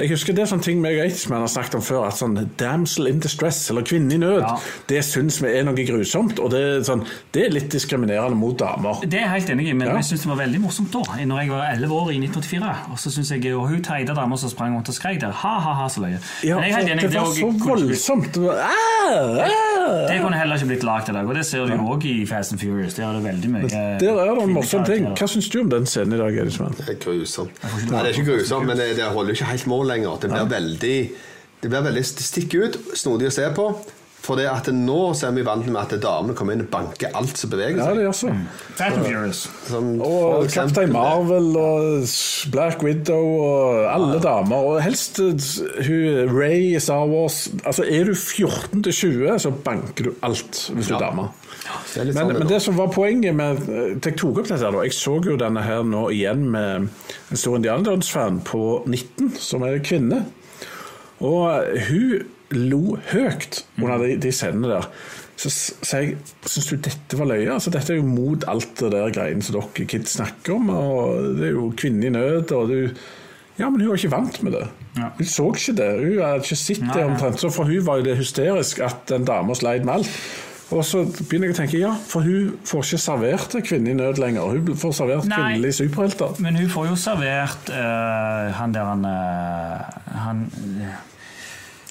Speaker 6: jeg husker det er sånn ting meg og Eidsmann har snakket om før. At sånn damsel in distress, eller kvinne i nød,
Speaker 8: Ja.
Speaker 6: det syns vi er noe grusomt. Og det er, sånn, det er litt diskriminerende mot damer.
Speaker 8: Det er jeg helt enig i, men
Speaker 6: Ja.
Speaker 8: jeg synes det var veldig morsomt da. Når jeg var 11 år i 1984. Og så synes jeg, og hun teide dama som sprang rundt og skrek der. Ha, ha, ha, så løye.
Speaker 6: Ja,
Speaker 8: men jeg er helt
Speaker 6: for
Speaker 8: enig,
Speaker 6: det
Speaker 8: det,
Speaker 6: var
Speaker 8: også-
Speaker 6: så
Speaker 8: kunne ikke blitt-
Speaker 6: voldsomt. Det var, ah, ah.
Speaker 8: det kunne heller ikke blitt lagd i dag, og det ser du jo òg i Fast and Furious. Der er det veldig mye
Speaker 6: Der er det en morsom ting.
Speaker 8: kvinnekarakterer.
Speaker 6: Hva syns du om den scenen i dag, Eidsmann?
Speaker 7: det er Eh, grusomt. Nei, det er ikke grusomt, men eh, det, det holder jo ikke helt mål lenger. Det blir veldig Det blir veldig det stikker ut, snodig å se på. For det at nå så er vi vant med at damene kommer inn og banker alt som beveger
Speaker 6: Ja,
Speaker 7: seg.
Speaker 6: det gjør så.
Speaker 8: Fast and Furious.
Speaker 7: Som for
Speaker 6: Og
Speaker 7: eksempel-
Speaker 6: Kaptein Marvel og Black Widow og alle damer. Og helst eh, hun Ray i Star Wars. Altså, er du 14 til 20, så banker du alt hvis du er dame.
Speaker 7: Det er litt
Speaker 6: Men,
Speaker 7: sånn det
Speaker 6: men
Speaker 7: nå.
Speaker 6: det som var poenget med eh, Jeg tok opp dette her da Jeg så jo denne her nå igjen med en stor indianerdødsfan på 19, som er kvinne. Og hun lo høyt under
Speaker 7: Mm.
Speaker 6: de, de scenene der. Så s- sa jeg Syns du dette var løye? Altså, dette er jo mot alt det der greiene som dere kids snakker om. Og det er jo kvinne i nød, og du Ja, men hun var ikke vant med det.
Speaker 8: Ja.
Speaker 6: Hun så ikke det. Hun hadde ikke sett det omtrent. Så for hun var jo det hysterisk at den dama sleit med alt. Og så begynner jeg å tenke ja, for hun får ikke servert kvinne i nød lenger. Hun får servert
Speaker 8: Nei.
Speaker 6: kvinnelige superhelter.
Speaker 8: Men hun får jo servert eh, han der han, eh, han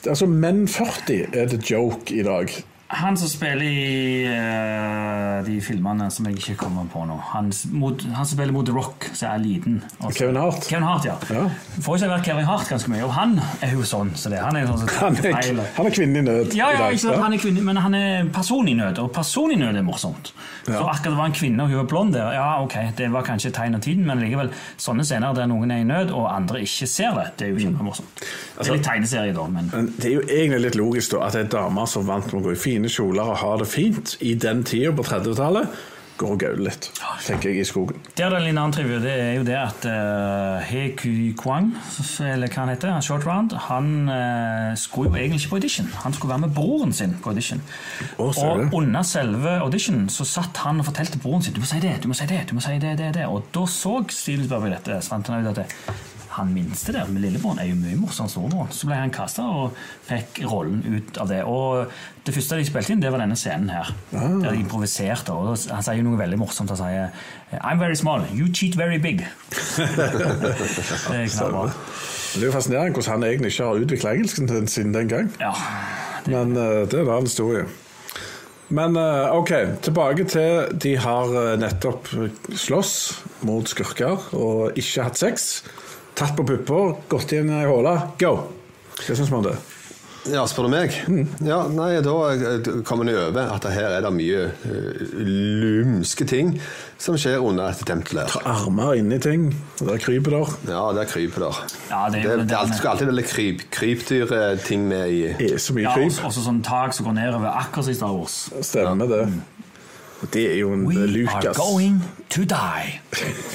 Speaker 6: Altså, menn 40 er the joke i dag.
Speaker 8: Han som spiller i eh, de filmene som jeg ikke kommer på nå. Han, s- mot, han som spiller mot The Rock, som er liten. Og så-
Speaker 6: Kevin Hart.
Speaker 8: Kevin Hart, ja.
Speaker 6: Ja.
Speaker 8: Får ikke vært Kevin Hart ganske mye, og han er jo sånn. Så det, han er sånn som
Speaker 6: Han er,
Speaker 8: Feil.
Speaker 6: han er kvinne i nød
Speaker 8: Ja,
Speaker 6: i
Speaker 8: ja,
Speaker 6: dag.
Speaker 8: ikke sant? Han er kvinne, men han er person i nød, og person i nød er morsomt. Så akkurat det var en kvinne, og hun var blond der. Ja, ok, Det var kanskje et tegn av tiden, men likevel, sånne scener der noen er i nød, og andre ikke ser det, det er
Speaker 6: Mm.
Speaker 8: jo kjempemorsomt.
Speaker 6: Altså-
Speaker 8: Det er litt tegneserie, da, men
Speaker 6: Men det er jo egentlig litt logisk da, at ei dame som vant med å gå i fine kjoler og ha det fint i den tida på 30-tallet, går og gauler litt, tenker jeg, i skogen.
Speaker 8: Der er det en annen trivia, det er jo det at eh, He Ku Kwang, eller hva han heter, han short round, han eh, skulle jo egentlig ikke på audition. Han skulle være med broren sin på audition.
Speaker 6: Å, ser
Speaker 8: og
Speaker 6: du.
Speaker 8: under selve auditionen så satt han og fortalte broren sin du må si det, du må si det, du må si det, det, det. Og da så Steven Spielberg dette, så fant han ut at det, han minste der med lillebroren er jo mye morsommere enn storebroren. Så ble han kasta og fikk rollen ut av det. Og det første de spilte inn, det var denne scenen her.
Speaker 6: Ah.
Speaker 8: Der de improviserte. Og han sier jo noe veldig morsomt. Han sier I'm very small, you cheat very big. det er knallbra.
Speaker 6: Men Det er jo fascinerende hvordan han egentlig ikke har utvikla engelsken sin siden den gang.
Speaker 8: Ja.
Speaker 6: Men eh, det er en annen historie. Men eh, OK, tilbake til de har eh, nettopp slåss mot skurker og ikke hatt sex. Tatt på pupper, gått inn i ei håle. Go! Hva syns vi om det? Mm.
Speaker 7: Ja, spør du meg? Ja, nei, da eh, kommer det over at her er det mye eh, lumske ting som skjer under et tempel. her.
Speaker 6: Armer inni ting, og der kryper der.
Speaker 7: Ja, der kryper der.
Speaker 8: Ja, det er jo
Speaker 7: det,
Speaker 8: det
Speaker 7: det er alt-
Speaker 8: der-
Speaker 7: skal alltid veldig kryp, krypdyrting med i
Speaker 6: Er så mye
Speaker 8: Ja,
Speaker 6: kryp.
Speaker 8: også, også sånn tak som går nedover, akkurat som i Star Wars.
Speaker 6: Stemmer det. Og det er jo en
Speaker 8: Mm.
Speaker 6: eh,
Speaker 8: We are
Speaker 6: Lucas.
Speaker 8: going to die.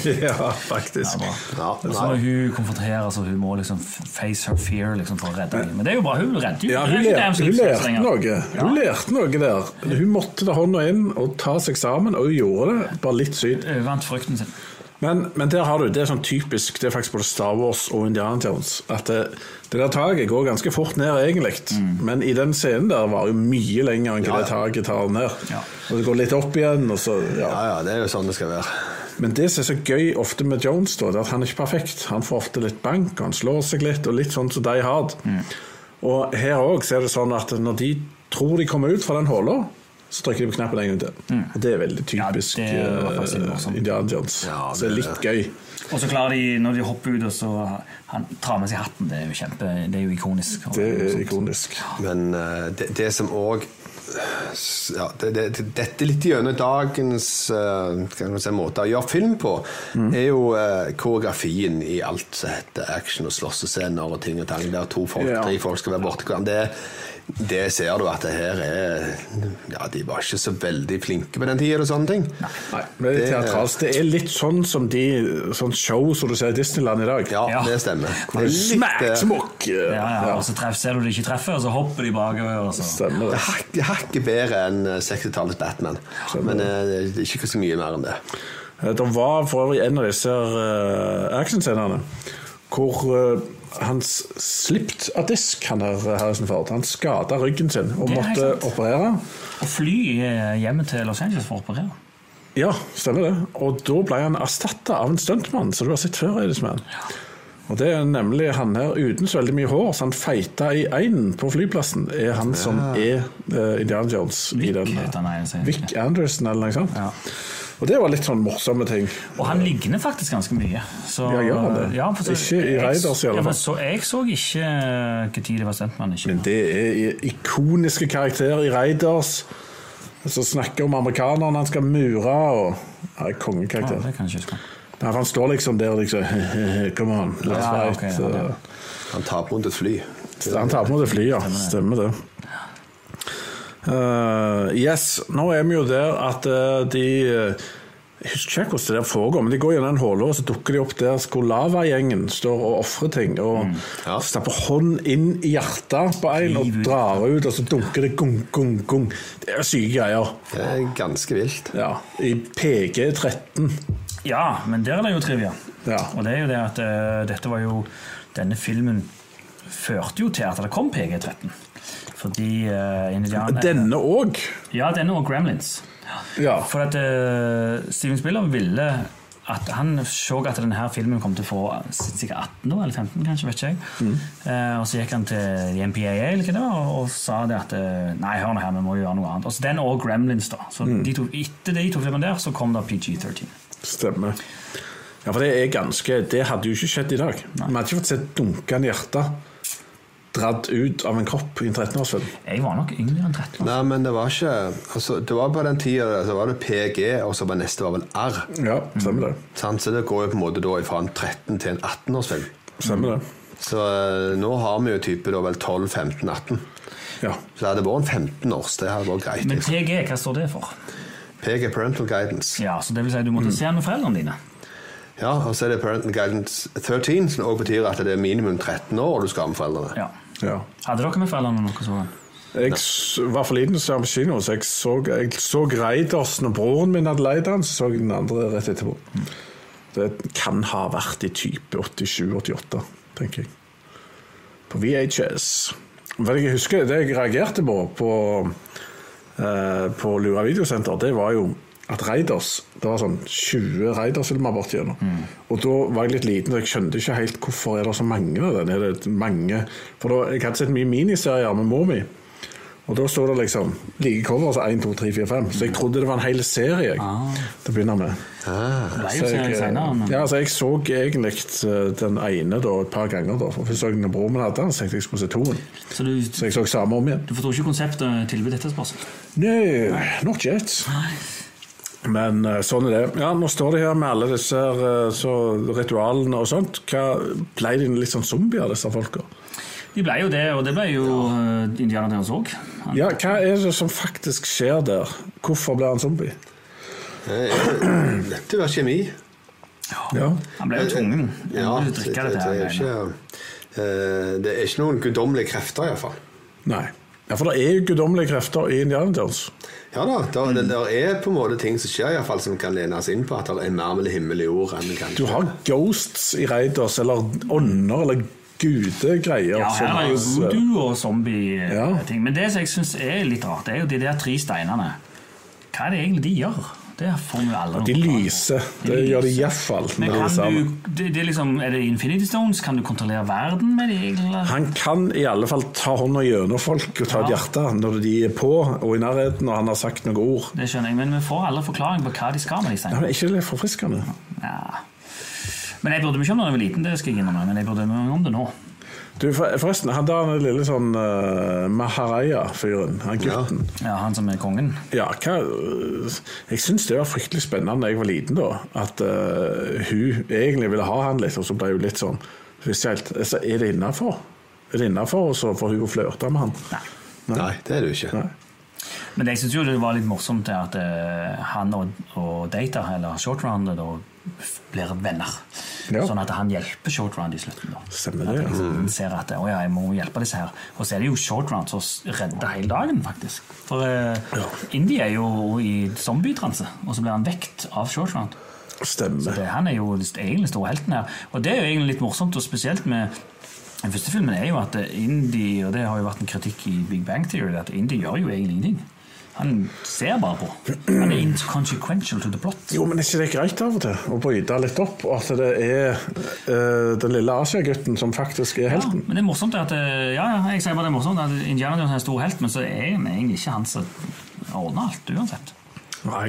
Speaker 6: ja, faktisk.
Speaker 7: Ja,
Speaker 8: Og så
Speaker 7: nei.
Speaker 6: sånn-
Speaker 8: når hun konfronterer, så hun må liksom face her fear liksom, for å redde henne. Men det er jo bra, hun redder jo
Speaker 6: Ja,
Speaker 8: det er
Speaker 6: hun,
Speaker 8: ikke
Speaker 6: lær,
Speaker 8: dem som
Speaker 6: hun
Speaker 8: utsetter
Speaker 6: lærte
Speaker 8: lenger.
Speaker 6: noe. Hun
Speaker 8: Ja.
Speaker 6: lærte noe der. Hun måtte ta hånda inn og ta seg sammen, og hun gjorde det. Bare litt sykt.
Speaker 8: Hun Vant frykten sin.
Speaker 6: Men, men der har du, det er sånn typisk, det er faktisk både Star Wars og Indiana Jones, at det, det der taket går ganske fort ned egentlig.
Speaker 8: Mm.
Speaker 6: Men i den scenen der var jo mye lenger enn hva det taket tar ned.
Speaker 8: Ja.
Speaker 6: Og det går litt opp igjen, og så, ja.
Speaker 7: Ja, ja, det er jo sånn det skal være.
Speaker 6: Men det som er så gøy ofte med Jones, da, det er at han er ikke perfekt. Han får ofte litt bank, han slår seg litt, og litt sånn som Die Hard.
Speaker 8: Mm.
Speaker 6: Og her òg er det sånn at når de tror de kommer ut fra den håla, så trykker de på knappen en gang til. Og det er veldig
Speaker 8: Mm. Ja, det
Speaker 6: typisk
Speaker 8: var faktisk litt
Speaker 6: eh,
Speaker 8: morsomt.
Speaker 6: Indiana Jones.
Speaker 7: Ja,
Speaker 6: så det er
Speaker 7: det-
Speaker 6: litt gøy.
Speaker 8: Og så klarer de, når de hopper ut, og så han tar med seg hatten. Det er jo kjempe, det er jo ikonisk.
Speaker 6: Det er ikonisk.
Speaker 7: Men eh, det, det som òg ja, det, det, Dette er litt gjennom dagens eh, kan man si, måte å gjøre film på,
Speaker 6: Mm.
Speaker 7: er jo eh, koreografien i alt som heter action og slåssescener og ting og tang, der to folk,
Speaker 6: Ja.
Speaker 7: tre folk skal være borti hverandre. Det, det ser du at det her er Ja, de var ikke så veldig flinke på den tida og sånne ting.
Speaker 6: Nei, men det er teatralsk. Det er litt sånn som de sånn show som du ser i Disneyland i dag.
Speaker 7: Ja,
Speaker 8: Ja.
Speaker 7: det stemmer.
Speaker 6: Det er
Speaker 7: Litt,
Speaker 6: Smack,
Speaker 7: eh,
Speaker 6: smokk!
Speaker 8: Ja, ja, og så treff, ser du de ikke treffer, og så hopper de bakover. Og så.
Speaker 6: Stemmer
Speaker 7: det
Speaker 6: det.
Speaker 7: er hak- hakket bedre enn eh, 60-tallets Batman, men eh, det er ikke så mye mer enn det.
Speaker 6: Eh, Det var for øvrig en av disse uh, actionscenene hvor eh, hans slipt av disk, han der eh, Harrison Ford, han skada ryggen sin og
Speaker 8: Det er helt
Speaker 6: måtte
Speaker 8: sant.
Speaker 6: operere.
Speaker 8: Og fly eh, hjemme til Los Angeles for å operere.
Speaker 6: Ja, stemmer det. Og da ble han erstatta av en stuntmann som du har sett før. Edisman. Og det er nemlig han her uten så veldig mye hår, så han feita i einen på flyplassen, er han som er eh, Indiana Jones i
Speaker 8: Vic
Speaker 6: den. eh,
Speaker 8: heter han ene scenen.
Speaker 6: Vic Anderson, eller noe sånt.
Speaker 8: Ja.
Speaker 6: Og det var litt sånn morsomme ting.
Speaker 8: Og han ligner faktisk ganske mye. Så,
Speaker 6: Ja, gjør han det?
Speaker 8: Ja, for så-
Speaker 6: Ikke i
Speaker 8: jeg-
Speaker 6: Raiders i alle
Speaker 8: Ja, men
Speaker 6: fall.
Speaker 8: så jeg så ikke når det var stuntmann. ikke.
Speaker 6: Men det er ikoniske karakterer i Raiders. Som snakker om amerikaneren han skal mure og ja,
Speaker 8: Ja,
Speaker 6: Kongekarakter.
Speaker 8: det kan jeg ikke huske.
Speaker 6: Nei, for han står liksom der og liksom Come on, let's
Speaker 8: Ja, ok,
Speaker 6: fight.
Speaker 8: ja, det-
Speaker 6: eh,
Speaker 7: Han tar rundt et fly.
Speaker 6: Så Han tar på det flyet, ja. Stemmer det. Eh, yes, nå er vi jo der at eh, de eh, Jeg husker ikke hvordan det der foregår, men de går gjennom en håle, og så dukker de opp der hvor lavagjengen står og ofrer ting. Og
Speaker 7: Ja.
Speaker 6: stapper hånd inn i hjertet på en og
Speaker 8: Riv ut.
Speaker 6: drar ut, og så dunker det gung, gung, gung. Det er syke greier.
Speaker 7: Det er ganske vilt.
Speaker 6: Ja. I PG13.
Speaker 8: Ja, men der er det jo trivia.
Speaker 6: Ja.
Speaker 8: Og det er jo det at eh, dette var jo Denne filmen førte jo til at det kom PG-13. Fordi uh, Indiana
Speaker 6: Denne òg.
Speaker 8: Ja, denne og Gremlins.
Speaker 6: Ja.
Speaker 8: For at eh, Steven Spiller ville at Han så at denne filmen kom til å få sikkert 18 år, eller 15, kanskje, vet ikke jeg.
Speaker 6: Mm.
Speaker 8: Eh, og så gikk han til MPAA eller hva det var, og, og sa det at eh, Nei, hør nå her, vi må gjøre noe annet. Og så den og Gremlins, da. Så
Speaker 6: Mm.
Speaker 8: de to, etter de to filmene der, så kom da PG-13.
Speaker 6: Stemmer. Ja, for det er ganske Det hadde jo ikke skjedd i dag. Vi hadde ikke fått sett dunkende hjerte dratt ut av en kropp i en 13-årsfilm.
Speaker 8: Jeg var nok yngre enn 13. år.
Speaker 7: Nei, men det var ikke altså, Det var på den tida så var det PG, og så var neste var vel R.
Speaker 6: Ja, stemmer det.
Speaker 7: Sant? Så det går jo på en måte da fra en 13 til en 18-årsfilm.
Speaker 6: Stemmer det.
Speaker 7: Så eh, nå har vi jo type da vel 12, 15, 18.
Speaker 6: Ja.
Speaker 7: Så det hadde vært en 15-års. Det hadde vært greit.
Speaker 8: Men
Speaker 7: liksom.
Speaker 8: PG, hva står det for? Mm.
Speaker 7: PG Parental Guidance.
Speaker 8: Ja, så det vil si at Du måtte se den med foreldrene dine.
Speaker 7: Ja, Og så er det Parental Guidance 13, som også betyr at det er minimum 13 år og du skal ha med foreldrene.
Speaker 8: Ja.
Speaker 6: ja.
Speaker 8: Hadde dere med foreldrene noe sånt?
Speaker 6: Jeg s- var for liten til å se den på kino, så jeg så, jeg så Reidersen og broren min hadde leid den, så så jeg den andre rett etterpå. Det kan ha vært i type 87-88, tenker jeg. På VHS. Men jeg husker det jeg reagerte på på, eh, på Lura videosenter, det var jo at Raiders Det var sånn 20 Raiders-filmer bortigjennom. Og da var jeg litt liten, og jeg skjønte ikke helt hvorfor er det så mange av den. Er det mange? For da, jeg hadde sett mye miniserier med mor mi. Og da står det liksom like cover, altså 1, 2, 3, 4, 5. Så jeg trodde det var en hel serie jeg, til å begynne med.
Speaker 8: Ah. Det ble jo
Speaker 6: Så
Speaker 8: serie senere, men
Speaker 6: ja, altså jeg så egentlig eh, den ene da, et par ganger. da, for Først så jeg den når broren min hadde den, så tenkte jeg jeg skulle se toen.
Speaker 8: Så du,
Speaker 6: Så jeg så samme om igjen.
Speaker 8: du forstår ikke konseptet tilbud etterspørsel?
Speaker 6: Nei, not yet. Men eh, sånn er det. Ja, Nå står det her med alle disse her, eh, så ritualene og sånt. Hva Ble de litt sånn zombier, disse folka?
Speaker 8: De ble jo det, og det ble jo eh, Indiana Jones òg.
Speaker 6: Ja, hva er det som faktisk skjer der? Hvorfor blir han zombie?
Speaker 7: Det er jo kjemi.
Speaker 6: Ja.
Speaker 8: Han ble jo tvungen. Ja,
Speaker 7: Ja, det,
Speaker 8: drikke
Speaker 7: det, det,
Speaker 8: dette her
Speaker 7: er
Speaker 8: greiene.
Speaker 7: ikke, eh, det er ikke noen guddommelige krefter, iallfall.
Speaker 6: Nei. Ja, For det er jo guddommelige krefter i Indiana Jones.
Speaker 7: Ja da, der, det der er på en måte ting som skjer i hvert fall som kan lene oss inn på at det er mer mellom himmel og jord enn vi kan
Speaker 6: Du har ghosts i Raiders, eller ånder, eller gudegreier.
Speaker 8: Ja,
Speaker 6: som
Speaker 8: her er jo
Speaker 6: hans, eh,
Speaker 8: voodoo og zombie-ting.
Speaker 6: Ja.
Speaker 8: Men det som jeg syns er litt rart, det er jo de der tre steinene. Hva er det egentlig de gjør? Det får vi aldri noe
Speaker 6: De
Speaker 8: forklaring på.
Speaker 6: lyser. Det gjør de i hvert fall
Speaker 8: Men
Speaker 6: når de er
Speaker 8: kan
Speaker 6: sammen.
Speaker 8: du, det, det er, liksom, er det Infinity Stones? Kan du kontrollere verden med de? Eller?
Speaker 6: Han kan i alle fall ta hånda gjennom folk og ta et hjerte når de er på og i nærheten, og han har sagt noen ord.
Speaker 8: Det skjønner jeg, men vi får aldri forklaring på hva de skal med de
Speaker 6: Ja,
Speaker 8: steinene.
Speaker 6: men Er ikke det litt forfriskende?
Speaker 8: Ja. Men jeg burde meg ikke om det da jeg var liten, det skal jeg innrømme. Men jeg burde meg om det nå.
Speaker 6: Du, for- Forresten, han der han lille sånn eh, Maharaja-fyren, han gutten
Speaker 8: Ja, Han som er kongen.
Speaker 6: Ja, hva øh, Jeg syns det var fryktelig spennende da jeg var liten, da. At eh, hun egentlig ville ha han litt, og så ble hun litt sånn Hvis jeg helt altså, Er det innafor? Er det innafor, og så får hun flørte med han?
Speaker 8: Nei.
Speaker 7: Nei, det er det jo ikke.
Speaker 6: Nei.
Speaker 8: Men jeg syns jo det var litt morsomt det at eh, han og, og Data, eller Shortrun, da f- blir venner.
Speaker 6: Ja.
Speaker 8: Sånn at han hjelper Shortrun i slutten. da
Speaker 6: Stemmer det,
Speaker 8: At
Speaker 6: ja.
Speaker 8: liksom, ser at å ja, jeg må hjelpe disse her. Og så er det jo Shortrun som s- redder hele dagen, faktisk. For uh, Indie er jo i zombietranse, og så blir han vekt av Shortrun.
Speaker 6: Stemmer.
Speaker 8: Det, han er jo egentlig den store helten her. Og det er jo egentlig litt morsomt, og spesielt med den første filmen er jo at eh, indie, og det har jo vært en kritikk i Big Bang Theory, at indie gjør jo egentlig ingenting. Han ser bare på. Han er inconsequential to the plot.
Speaker 6: Jo, men er ikke det greit av og til å bryte litt opp? og At det er eh, den lille asiagutten som faktisk er
Speaker 8: Ja,
Speaker 6: helten?
Speaker 8: men det er morsomt at eh, ja, ja, jeg sier bare det er morsomt at Indiana Jones er en stor helt, men så er han egentlig ikke han som ordner alt, uansett.
Speaker 6: Nei.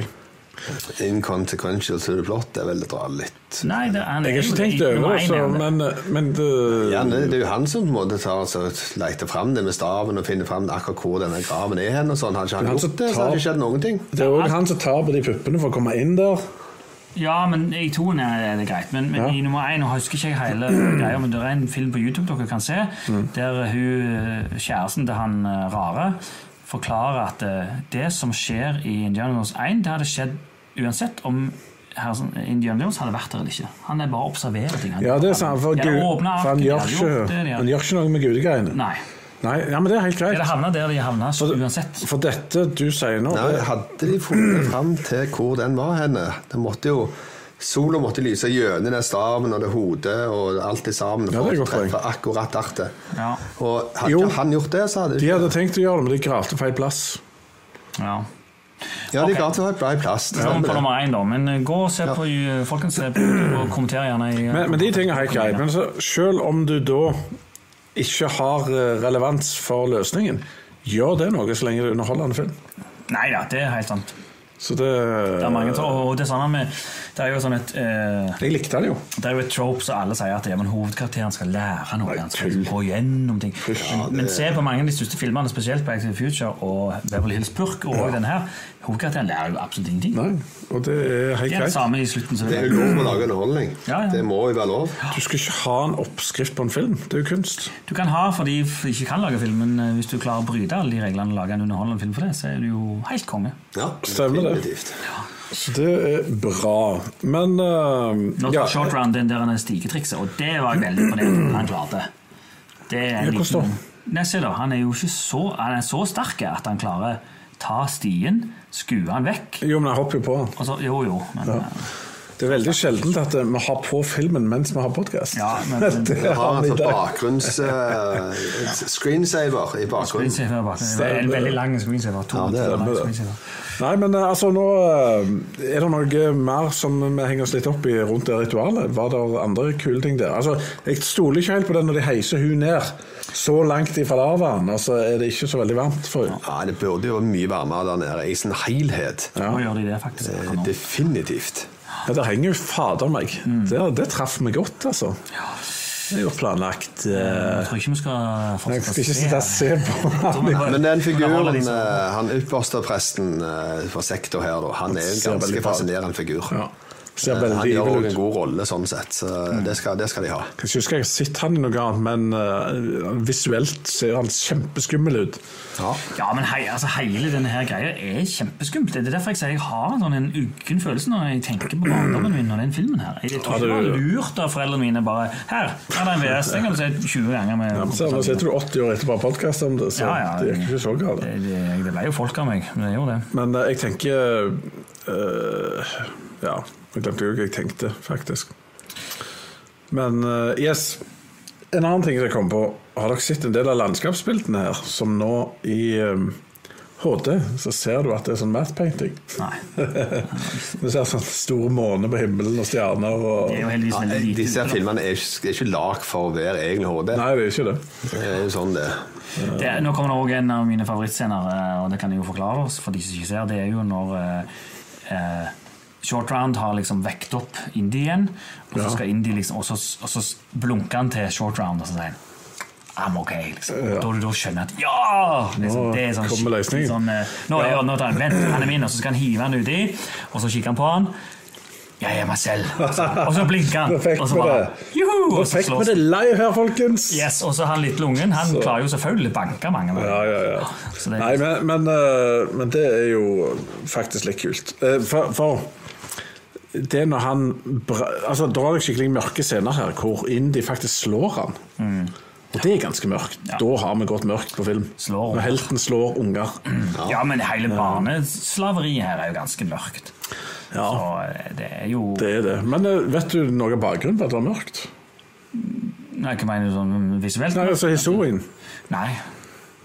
Speaker 7: Inconsequential to the plot det er vel å dra litt
Speaker 8: Nei, det, han
Speaker 6: Jeg har
Speaker 8: er jo
Speaker 6: ikke tenkt
Speaker 8: nummer
Speaker 6: over det,
Speaker 8: én,
Speaker 6: så-
Speaker 8: er han det.
Speaker 6: men, øh, men det,
Speaker 7: ja, det, det er jo han som på en måte tar altså, leter fram det med staven og finner fram akkurat hvor denne graven er hen. og sånn. Hadde ikke han
Speaker 6: Men han som
Speaker 7: gjort det, så hadde det ikke skjedd noen ting.
Speaker 6: det er òg han som tar på de puppene for å komme inn der.
Speaker 8: Ja, men i toen er det greit. Men, men i nummer én nå husker ikke jeg hele greia, men det er en film på YouTube dere kan se,
Speaker 6: Mm.
Speaker 8: der hun, kjæresten til han eh, rare forklarer at eh, det som skjer i Indiana Jones 1, det hadde skjedd uansett om hersen Indiana Jones hadde vært der eller ikke. Han er bare observerer ting.
Speaker 6: Ja, det er sant, for,
Speaker 8: Ja,
Speaker 6: Gud,
Speaker 8: åpner
Speaker 6: for han,
Speaker 8: arken,
Speaker 6: gjør
Speaker 8: de
Speaker 6: ikke,
Speaker 8: hadde gjort det, de hadde-
Speaker 6: han gjør ikke noe med gudegreiene.
Speaker 8: Nei.
Speaker 6: Nei, ja, men det er helt
Speaker 8: Det
Speaker 6: greit.
Speaker 8: havna der de havna, så uansett.
Speaker 6: For dette du sier nå
Speaker 7: Nei, hadde de funnet fram til hvor den var henne? Det måtte jo... Sola måtte lyse gjennom den staven og det hodet og alt i sammen
Speaker 6: Ja,
Speaker 7: for
Speaker 6: det er
Speaker 7: å
Speaker 6: godt poeng.
Speaker 7: treffe akkurat artet.
Speaker 8: Ja.
Speaker 7: Og hadde
Speaker 6: Jo.
Speaker 7: ikke han gjort det, så hadde
Speaker 6: De hadde tenkt å gjøre det, men de gravde feil plass.
Speaker 8: Ja.
Speaker 7: Ja, de
Speaker 8: Ok.
Speaker 7: ga til å ha plass. det
Speaker 8: Så kommer
Speaker 7: stemmer
Speaker 8: vi på
Speaker 7: det.
Speaker 8: nummer én, da. Men eh, gå og se på eh, folkens, se på, og kommenter gjerne. i
Speaker 6: Men, men de tingene er helt greit. Men så, selv om du da ikke har eh, relevans for løsningen, gjør det noe så lenge det er underholdende film.
Speaker 8: Nei da, det er helt sant.
Speaker 6: Så det,
Speaker 8: Det er mange som- og det samme med Det er jo sånn et eh,
Speaker 6: Jeg likte det jo.
Speaker 8: Det er jo et trope som alle sier at ja, men hovedkarakteren skal lære noe. Han skal gå gjennom ting men, men se på mange av de største filmene, spesielt på Back to the Future og Beverly Hills Purk. Og den her Hovedkarakteren lærer jo absolutt ingenting.
Speaker 6: Nei, og det er
Speaker 8: Det
Speaker 6: helt
Speaker 8: er det
Speaker 6: greit.
Speaker 8: samme i slutten. som
Speaker 7: Det er jo lov å lage underholdning.
Speaker 8: Ja, ja.
Speaker 7: Det må jo være lov.
Speaker 6: Du skal ikke ha en oppskrift på en film. Det er jo kunst.
Speaker 8: Du kan ha for de f- ikke kan lage film, men eh, hvis du klarer å bryte alle de reglene og lage en underholdende film for det, så er du jo helt konge.
Speaker 7: Ja,
Speaker 6: Stemmer det.
Speaker 7: definitivt.
Speaker 6: Så det er bra. Men eh,
Speaker 8: Nå
Speaker 6: ja,
Speaker 8: tar short round den der han er stigetrikset, og det var jeg veldig imponert over. Han klarte det. er en
Speaker 6: Ja, hvordan
Speaker 8: liten- Nei, se da, Han er jo ikke så Han er så sterk at han klarer ta stien, skue han vekk
Speaker 6: Jo, men jeg hopper jo på.
Speaker 8: og så, Jo, jo. Men, eh, ja.
Speaker 6: Det er veldig sjeldent at eh, vi har på filmen mens vi har podkast.
Speaker 8: Ja, men-
Speaker 6: det
Speaker 7: Vi har
Speaker 6: har vi
Speaker 7: altså
Speaker 6: i dag.
Speaker 7: bakgrunns... eh, screensaver i bakgrunnen.
Speaker 8: Screensaver bak. Det var en veldig lang screensaver. To
Speaker 7: Ja, det er
Speaker 8: to lange
Speaker 7: det.
Speaker 8: screensaver.
Speaker 6: Nei, men eh, altså, nå eh, er det noe mer som vi henger oss litt opp i rundt det ritualet. Var det andre kule ting der? Altså, Jeg stoler ikke helt på det når de heiser hun ned. Så langt ifra lavaen, altså er det ikke så veldig varmt for henne.
Speaker 7: Ja, det burde jo være mye varmere der nede i sin helhet.
Speaker 8: Nå gjør de det faktisk.
Speaker 7: Eh,
Speaker 8: akkurat nå.
Speaker 7: Definitivt.
Speaker 6: Ja, det henger jo fader meg.
Speaker 7: Mm.
Speaker 6: Det, det traff meg godt, altså. Det er jo planlagt. eh,
Speaker 8: Jeg tror ikke vi skal
Speaker 6: Nei, jeg
Speaker 8: fortsette
Speaker 6: skal ikke sitte og se på han.
Speaker 7: Men den figuren,
Speaker 8: Underholde de som-
Speaker 7: eh, han ypperste presten eh, for sekta her, da, han er jo en
Speaker 6: Ser veldig
Speaker 7: ganske
Speaker 6: bra ut.
Speaker 7: fascinerende figur.
Speaker 6: Ja. Ser
Speaker 7: Eh, Han
Speaker 6: veldig
Speaker 7: gjør også
Speaker 6: evil
Speaker 7: en
Speaker 6: ut. Mm.
Speaker 7: god rolle sånn sett, så det, skal, det skal de ha.
Speaker 6: Jeg husker jeg har sett han i noe annet, men eh, visuelt ser han kjempeskummel ut.
Speaker 8: Ja, men hei, altså, hele denne her greia er kjempeskummelt. Det er derfor jeg sier jeg har en sånn en uggen følelse når jeg tenker på barndommen min og den filmen her. Jeg tror ikke
Speaker 6: Ja,
Speaker 8: det
Speaker 6: det-
Speaker 8: var lurt av foreldrene mine bare Her her er det en VS, den kan du se 20 ganger med
Speaker 6: Så Nå sitter du 80 år etterpå og podkaster om det, så
Speaker 8: Ja, ja.
Speaker 6: det gikk ikke så galt.
Speaker 8: det, det, det ble jo folk av meg. men Det gjorde det.
Speaker 6: Men eh, jeg tenker eh, Ja, jeg glemte jo hva jeg tenkte, faktisk. Men eh, yes. En annen ting jeg kom på. Har dere sett en del av landskapsbildene her, som nå i eh, HD, så ser du at det er sånn matte painting.
Speaker 8: Nei.
Speaker 6: Du ser sånn store måner på himmelen og stjerner og
Speaker 8: Det er jo heldigvis veldig lite.
Speaker 7: Disse
Speaker 8: ute, da.
Speaker 7: filmene er ikke, er ikke lag for hver egen HD.
Speaker 6: Nei, det er ikke det.
Speaker 7: Det er jo sånn det.
Speaker 8: Det, nå kommer det også en av mine favorittscener, eh, og det kan jeg jo forklare oss for de som ikke ser. Det er jo når eh, eh, Short Round har liksom vekt opp Indie igjen, og så,
Speaker 6: Ja.
Speaker 8: skal Indie liksom, og så, og så blunker han til Short Round og så sier han, I'm ok, liksom. Da, da skjønner jeg at ja! Liksom,
Speaker 6: Nå
Speaker 8: det er sånn,
Speaker 6: kommer
Speaker 8: skikkelig
Speaker 6: løsningen.
Speaker 8: Sånn, eh, nå, ja. nå tar han, vent, han er min, og så skal han hive han uti, og så kikker han på han. Jeg er meg selv. Og så, og så blinker han.
Speaker 6: Perfekt
Speaker 8: og så
Speaker 6: med
Speaker 8: bare,
Speaker 6: det.
Speaker 8: Juhu! Og så
Speaker 6: Perfekt
Speaker 8: slås
Speaker 6: med det live her, folkens!
Speaker 8: Yes, og så han lille ungen han klarer jo selvfølgelig å banke mange. men-
Speaker 6: Ja, ja, ja.
Speaker 8: Så det,
Speaker 6: Nei, men, men, eh, men det er jo faktisk litt kult. Eh, For, for det er når han bra, Altså, da har jeg skikkelig mørke scener her hvor Indy faktisk slår han. Og det er ganske mørkt.
Speaker 8: Mm. Ja.
Speaker 6: Da har vi gått mørkt på film.
Speaker 8: Slår Mm.
Speaker 6: Når helten slår unger.
Speaker 8: ja, men hele barneslaveriet her er jo ganske mørkt.
Speaker 6: Ja,
Speaker 8: Og eh, det er jo
Speaker 6: det er det. Men eh, vet du noe av bakgrunnen for at det var mørkt?
Speaker 8: Nei, Hva mener du sånn visuelt?
Speaker 6: Nei, altså historien.
Speaker 8: Nei.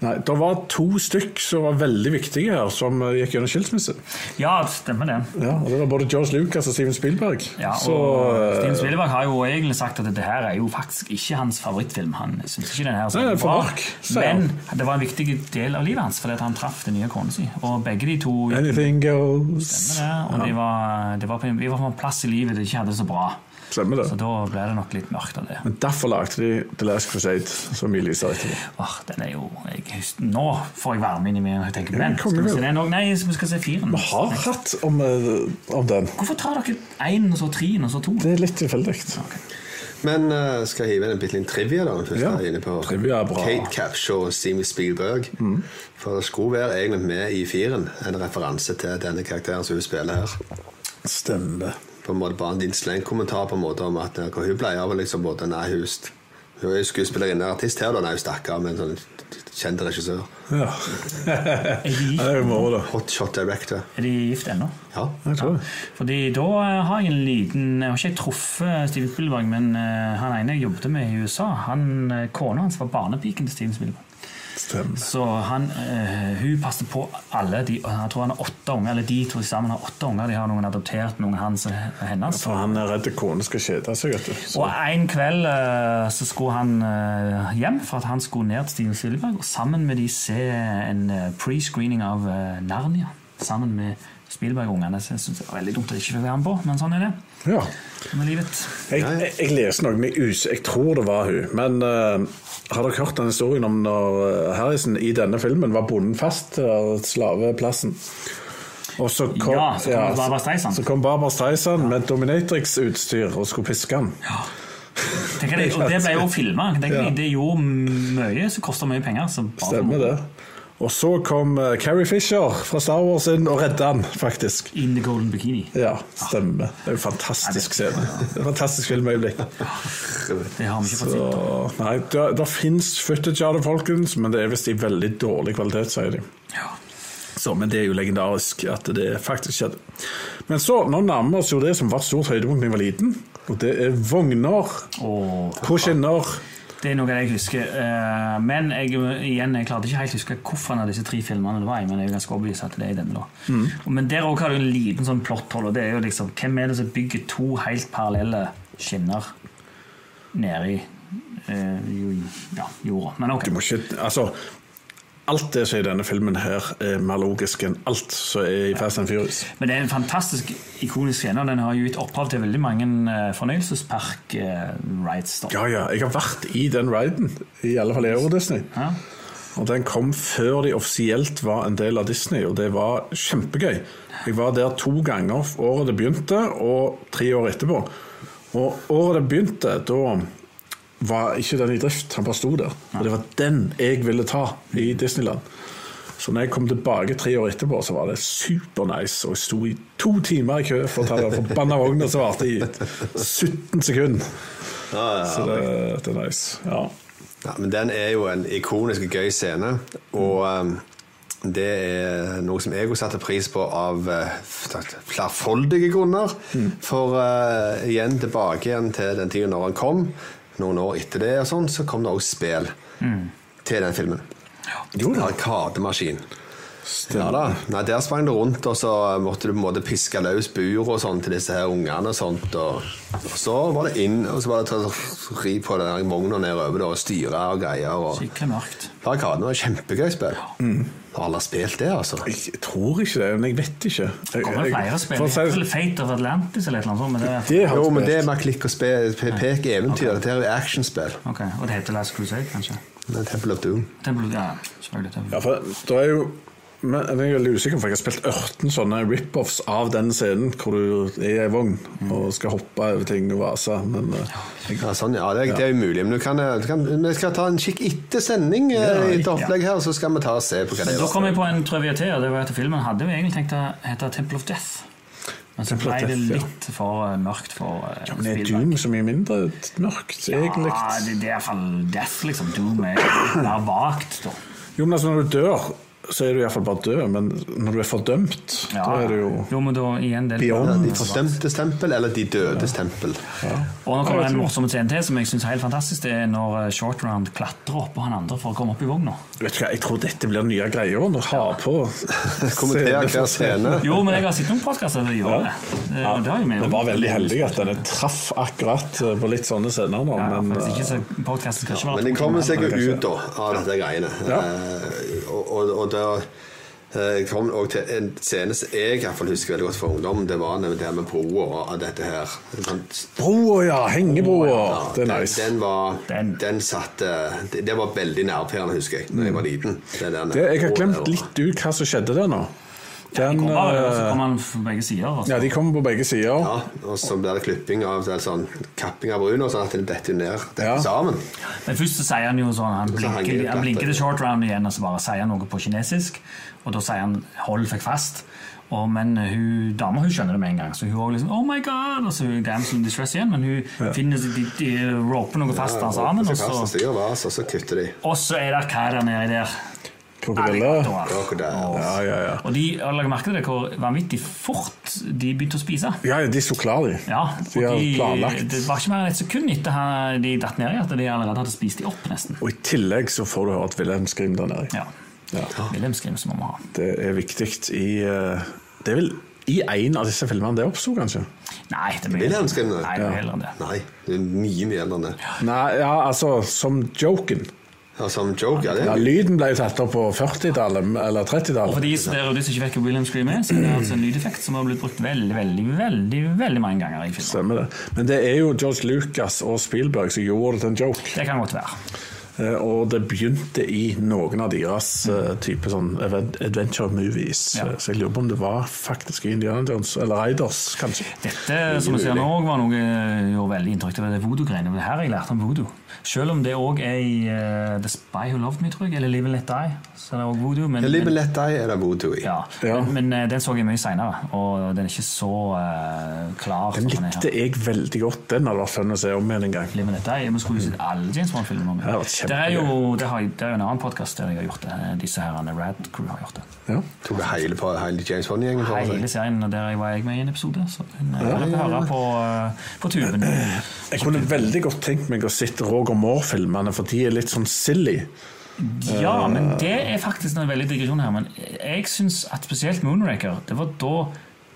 Speaker 6: Nei, Det var to stykk som var veldig viktige her, som eh, gikk gjennom skilsmisse.
Speaker 8: Ja, stemmer det.
Speaker 6: Ja, og Det var både George Lucas og Steven Spielberg.
Speaker 8: Ja, og
Speaker 6: så eh,
Speaker 8: Steven Spielberg har jo egentlig sagt at dette her er jo faktisk ikke hans favorittfilm. Han synes ikke den her er så
Speaker 6: Nei, den er for
Speaker 8: bra.
Speaker 6: mørk, sier han.
Speaker 8: Men det var en viktig del av livet hans, fordi at han traff den nye kona si. Og begge de to
Speaker 6: Anything goes.
Speaker 8: stemmer det. Og de var, de var, på, en- de var på en plass i livet de ikke hadde det så bra.
Speaker 6: Stemmer det.
Speaker 8: Så da ble det nok litt mørkt av det.
Speaker 6: Men derfor lagde de The Last Crusade, så mye lysere etterpå.
Speaker 8: Åh, den er jo jeg, husker- Nå får jeg varme inni meg når jeg tenker på
Speaker 6: Ja,
Speaker 8: den. Skal vi
Speaker 6: kongevel.
Speaker 8: se den også? Nei, vi skal se firen.
Speaker 6: Vi har hatt om, eh, om den.
Speaker 8: Hvorfor tar dere én, og så tre, og så to?
Speaker 6: Det er litt tilfeldig.
Speaker 7: Men eh, skal jeg hive inn en bitte liten trivia, da? Først
Speaker 6: Ja,
Speaker 7: jeg er inne på
Speaker 6: trivia er bra. Mm.
Speaker 7: Kate Capshaw og Steven Spielberg. For det skulle være egentlig med i Firen, en referanse til denne karakteren som hun spiller her.
Speaker 6: Stemmer.
Speaker 7: På en måte bare en slengkommentar på en måte om at eh, hva hun pleier vel liksom både Nei, hun st- hun er jo skuespillerinne og artist her, da. Nei, hun stakk av med en sånn kjent regissør.
Speaker 6: Ja.
Speaker 8: Er de,
Speaker 6: Ja, det
Speaker 8: gift-
Speaker 6: er jo moro, da.
Speaker 7: Hotshot director.
Speaker 8: er de gift ennå?
Speaker 7: Ja.
Speaker 6: Jeg tror det.
Speaker 8: Fordi da eh, har jeg en liten Jeg har ikke truffet Steven Spielberg, men eh, han ene jeg jobbet med i USA, han, eh, kona hans var barnepiken til Steven Spielberg.
Speaker 6: Stemmer.
Speaker 8: Så han, eh, hun passer på alle de, Jeg tror han har åtte unger, eller de to sammen har åtte unger. De har noen adoptert, noen hans og hennes.
Speaker 6: For han er redd kona skal kjede seg, vet du. Så
Speaker 8: Og en kveld eh, så skulle han eh, hjem for at han skulle ned til Steven Spielberg og sammen med de se en eh, pre-screening av eh, Narnia. Sammen med Spielberg-ungene. Så Jeg synes det var veldig dumt at jeg ikke fikk være med på, men sånn er det.
Speaker 6: ja.
Speaker 8: Sånn er livet.
Speaker 6: Jeg, jeg, jeg leser noe med us... Jeg tror det var hun. Men eh, har dere hørt den historien om når eh, Harrison i denne filmen var bonden fast til slaveplassen? Og så kom,
Speaker 8: Ja, så kom Barbra Streisand.
Speaker 6: så kom Barbra Streisand med Dominatrix-utstyr og skulle piske han.
Speaker 8: Tenker jeg, og det ble jo filma.
Speaker 6: Ja.
Speaker 8: Det gjorde mye, så kosta mye penger. Så bare-
Speaker 6: Stemmer det. Og så kom eh, Carrie Fisher fra Star Wars inn og redda han, faktisk.
Speaker 8: In the golden bikini.
Speaker 6: Ja, stemmer. Det er jo en fantastisk scene. Det er en Fantastisk filmøyeblikk.
Speaker 8: Det har vi ikke fått sett.
Speaker 6: Og, Nei, det, det fins footage av det, folkens, men det er visst i veldig dårlig kvalitet, sier de.
Speaker 8: Ja.
Speaker 6: Så, men det er jo legendarisk at det faktisk skjedde. Men så, nå nærmer vi oss jo det som var et stort høydepunkt da jeg var liten. Og det er vogner
Speaker 8: Og
Speaker 6: på skinner.
Speaker 8: Det er noe jeg husker. eh, Men jeg, igjen, jeg klarte ikke helt å huske hvorfor av disse tre filmene det var i. Men jeg er jo ganske overbevist at det er i denne. da.
Speaker 6: Mm.
Speaker 8: Men der også har du en liten sånn plotthold. Og det er jo liksom, hvem er det som bygger to helt parallelle skinner nedi eh, jo- ja, jorda? Men ok.
Speaker 6: Du må ikke Altså, alt det som er i denne filmen her, er mer logisk enn alt som er i Fast and Furious.
Speaker 8: Men det er en fantastisk ikonisk scene, og den har jo gitt opphav til veldig mange eh, fornøyelsespark-rides.
Speaker 6: Ja, ja. Jeg har vært i den riden. I alle fall i Euro Disney.
Speaker 8: Ja.
Speaker 6: Og den kom før de offisielt var en del av Disney, og det var kjempegøy. Jeg var der to ganger året det begynte, og tre år etterpå. Og året det begynte, da var ikke den i drift, han bare sto der. Og det var den jeg ville ta i Disneyland. Så når jeg kom tilbake tre år etterpå, så var det supernice. Og jeg sto i to timer i kø for å ta den forbanna vogna som varte i 17 sekunder. Så det, det er nice. Ja.
Speaker 7: Ja, men den er jo en ikonisk gøy scene, og um, det er noe som jeg også satte pris på av eh, sagt, flerfoldige grunner. For eh, igjen tilbake igjen til den tiden når han kom, noen år etter det, og sånn, så kom det også spill til den filmen.
Speaker 6: Jo da.
Speaker 7: Arkademaskin. Ja da. Nei, der sprang det rundt, og så måtte du på en måte piske løs bur og sånn til disse her ungene. Og sånt, og, og så var det inn, og så var det til å ri på den her vogna nedover da, og styre og greier. Og.
Speaker 8: Skikkelig mørkt.
Speaker 7: Arkaden var et kjempegøy spill. Har alle spilt det, altså?
Speaker 6: Jeg tror ikke det, men jeg vet ikke. Jeg,
Speaker 8: Kommer det flere spill?
Speaker 6: for å si- sånn,
Speaker 8: Eller Fate of Atlantis eller et eller annet sånt? Men det,
Speaker 6: det har
Speaker 7: Jo,
Speaker 6: jeg
Speaker 7: men
Speaker 6: spilt.
Speaker 7: det er mer klikk og spe, pe, pek eventyr. Dette er jo actionspill.
Speaker 8: Ok, Og det heter Last Crusade, kanskje?
Speaker 7: Det er Temple of Doom.
Speaker 8: Temple, ja, selvfølgelig. Temple.
Speaker 6: Ja, for det er jo men jeg er veldig usikker, for jeg har spilt 18 sånne rip-offs av den scenen hvor du er i ei vogn og skal hoppe over ting og vase. Men eh, jeg,
Speaker 7: Ja, sånn, ja, det, er- det er umulig. Men du kan, eh, du kan, vi skal ta en kikk etter sending eh, i et opplegg her, så skal vi ta og se på hva det
Speaker 8: Men
Speaker 7: er.
Speaker 8: da kom jeg på en trøvje til, og det var at filmen hadde jo egentlig tenkt å hete Temple of Death. Men så
Speaker 6: Temple
Speaker 8: ble
Speaker 6: of
Speaker 8: det
Speaker 6: Death, ja.
Speaker 8: litt for eh, mørkt for eh,
Speaker 6: men er
Speaker 8: Spielberg.
Speaker 6: Doom så mye mindre mørkt, egentlig?
Speaker 8: Ja, det, det er iallfall Death, liksom. Doom er mer vagt, da.
Speaker 6: Jo, men altså, når du dør, så er du iallfall bare død, men når du er fordømt,
Speaker 8: Ja.
Speaker 6: da er du jo
Speaker 8: Jo, men da igjen det er litt-
Speaker 6: beyond.
Speaker 7: De forstemtes tempel, eller de dødes tempel.
Speaker 8: Og nå kommer det en morsom scene til som jeg synes er helt fantastisk. Det er når eh, Short Round klatrer opp på han andre for å komme opp i vogna.
Speaker 6: Vet du hva, jeg tror dette blir nye greier når ha på
Speaker 7: Kommenter hver scene.
Speaker 8: Jo, men jeg har sett noen podkaster som gjør det. Det,
Speaker 6: Ja,
Speaker 8: det har jo vi
Speaker 6: vi
Speaker 8: gjort.
Speaker 6: var veldig heldige at denne traff akkurat eh, på litt sånne scener nå,
Speaker 8: Ja,
Speaker 6: men eh,
Speaker 8: faktisk ikke så podcasten skal ikke være
Speaker 7: Men de
Speaker 8: to
Speaker 7: kommer
Speaker 8: timer.
Speaker 7: seg jo ut da, av dette greiene.
Speaker 6: Ja.
Speaker 7: Eh, og, og, og da eh, kom også til en scene som jeg i hvert fall husker veldig godt fra ungdom. Det var nemlig det her med broa og dette her. Den,
Speaker 6: Broa, ja! Hengebroa! Det er
Speaker 7: den,
Speaker 6: nice.
Speaker 7: den var
Speaker 8: Den.
Speaker 7: Den, satte det, det var veldig nervepirrende, husker jeg, da jeg var liten. Det der
Speaker 6: Mm. Det, jeg har
Speaker 7: broa
Speaker 6: glemt
Speaker 7: der.
Speaker 6: litt ut hva som skjedde der nå. Den,
Speaker 8: Kommer bare, og så
Speaker 6: eh,
Speaker 8: kommer han fra begge sider. altså. Og så.
Speaker 6: ja, de kommer på begge sider.
Speaker 7: Ja, og så blir det klipping av det er sånn, kapping av bruna, sånn at det detter ned
Speaker 6: Ja.
Speaker 7: detter sammen.
Speaker 8: Men først så sier han jo sånn Han
Speaker 7: henger
Speaker 8: blinker,
Speaker 7: det
Speaker 8: han
Speaker 7: glatt,
Speaker 8: blinker til
Speaker 7: det.
Speaker 8: short round igjen, og så bare sier han noe på kinesisk. Og da sier han 'hold fikk fast'. Og, men eh, hun, dama hun skjønner det med en gang. Så hun også liksom 'oh my god' Og så hun damsel in distress igjen, men hun finner de, de roper noe fast han sammen.
Speaker 7: Så
Speaker 8: Og
Speaker 7: kaster
Speaker 8: så,
Speaker 7: de og vas, og så kutter de.
Speaker 8: og så er det karer nedi der.
Speaker 6: Krokodiller.
Speaker 7: Krokodiller.
Speaker 6: Ja, ja, ja.
Speaker 8: Og de, og legger merke til det hvor vanvittig fort de begynte å spise.
Speaker 6: Ja, ja, de sto klar, de.
Speaker 8: Ja,
Speaker 6: de har
Speaker 8: og de,
Speaker 6: planlagt.
Speaker 8: det var ikke mer enn et sekund etter her de datt ned i at de allerede hadde spist de opp, nesten.
Speaker 6: Og i tillegg så får du høre at Wilhelm Scream der nede.
Speaker 8: Ja.
Speaker 6: Ja.
Speaker 8: Wilhelm Scream som må vi ha.
Speaker 6: Det er viktig i eh, Det er vel i en av disse filmene det oppsto, kanskje?
Speaker 8: Nei, det blir
Speaker 7: Wilhelm Scream, det?
Speaker 8: Nei, det blir heller enn det.
Speaker 7: Nei, det er mye mye eldre enn det.
Speaker 6: Nei, ja, altså som joken.
Speaker 7: Ja, som joke, ja, det
Speaker 6: Ja,
Speaker 7: er
Speaker 6: lyden ble jo tatt opp på 40-tallet eller
Speaker 8: Og
Speaker 6: 30-tallet.
Speaker 8: for de som der og de som ikke vet hva Wilhelm Scream er, så er det altså en lydeffekt som har blitt brukt veldig, veldig, veldig veldig mange ganger i filmen.
Speaker 6: Stemmer det. Men det er jo George Lucas og Spielberg som gjorde det til en joke.
Speaker 8: Det kan godt være.
Speaker 6: Eh, Og det begynte i noen av deres eh, type sånn event- adventure movies.
Speaker 8: Ja.
Speaker 6: Eh, Så jeg lurer på om det var faktisk i Indiana Jones eller Raiders, kanskje.
Speaker 8: Dette som vi ser nå, var noe jeg gjorde veldig inntrykk av. Det er voodoo-greiene. Det er her jeg lærte om voodoo. Selv om det òg er i eh, The Spy Who Loved Me, tror jeg, eller Live and Let Die, så er det òg voodoo. Men,
Speaker 7: Livet lett deg er det voodoo i.
Speaker 8: Ja,
Speaker 6: Ja.
Speaker 8: Men, men, eh, den så jeg mye seinere, og den er ikke så eh, klar.
Speaker 6: Den
Speaker 8: som den er
Speaker 6: likte
Speaker 8: her.
Speaker 6: jeg veldig godt. Den hadde vært fun å se om igjen en gang.
Speaker 8: Liv med dette. Vi skulle jo sett alle James Bond-filmer om
Speaker 6: hadde vært
Speaker 8: Det er
Speaker 6: kjempegøy.
Speaker 8: jo det har, jeg- det er jo en annen podkast der jeg har gjort det. eh, Disse her Rad Crew har gjort det.
Speaker 6: Ja.
Speaker 7: Tok det hele på hele James Bond-gjengen for
Speaker 8: Hele
Speaker 7: seg.
Speaker 8: serien, og der jeg var jeg med i en episode. Så den eh, kan dere høre på, eh, på tuben.
Speaker 6: Jeg kunne veldig godt tenkt meg å sitte Roger Moore-filmene, for de er litt sånn silly.
Speaker 8: Ja, men det er faktisk en veldig digresjon her. Men jeg syns at spesielt Moonraker Det var da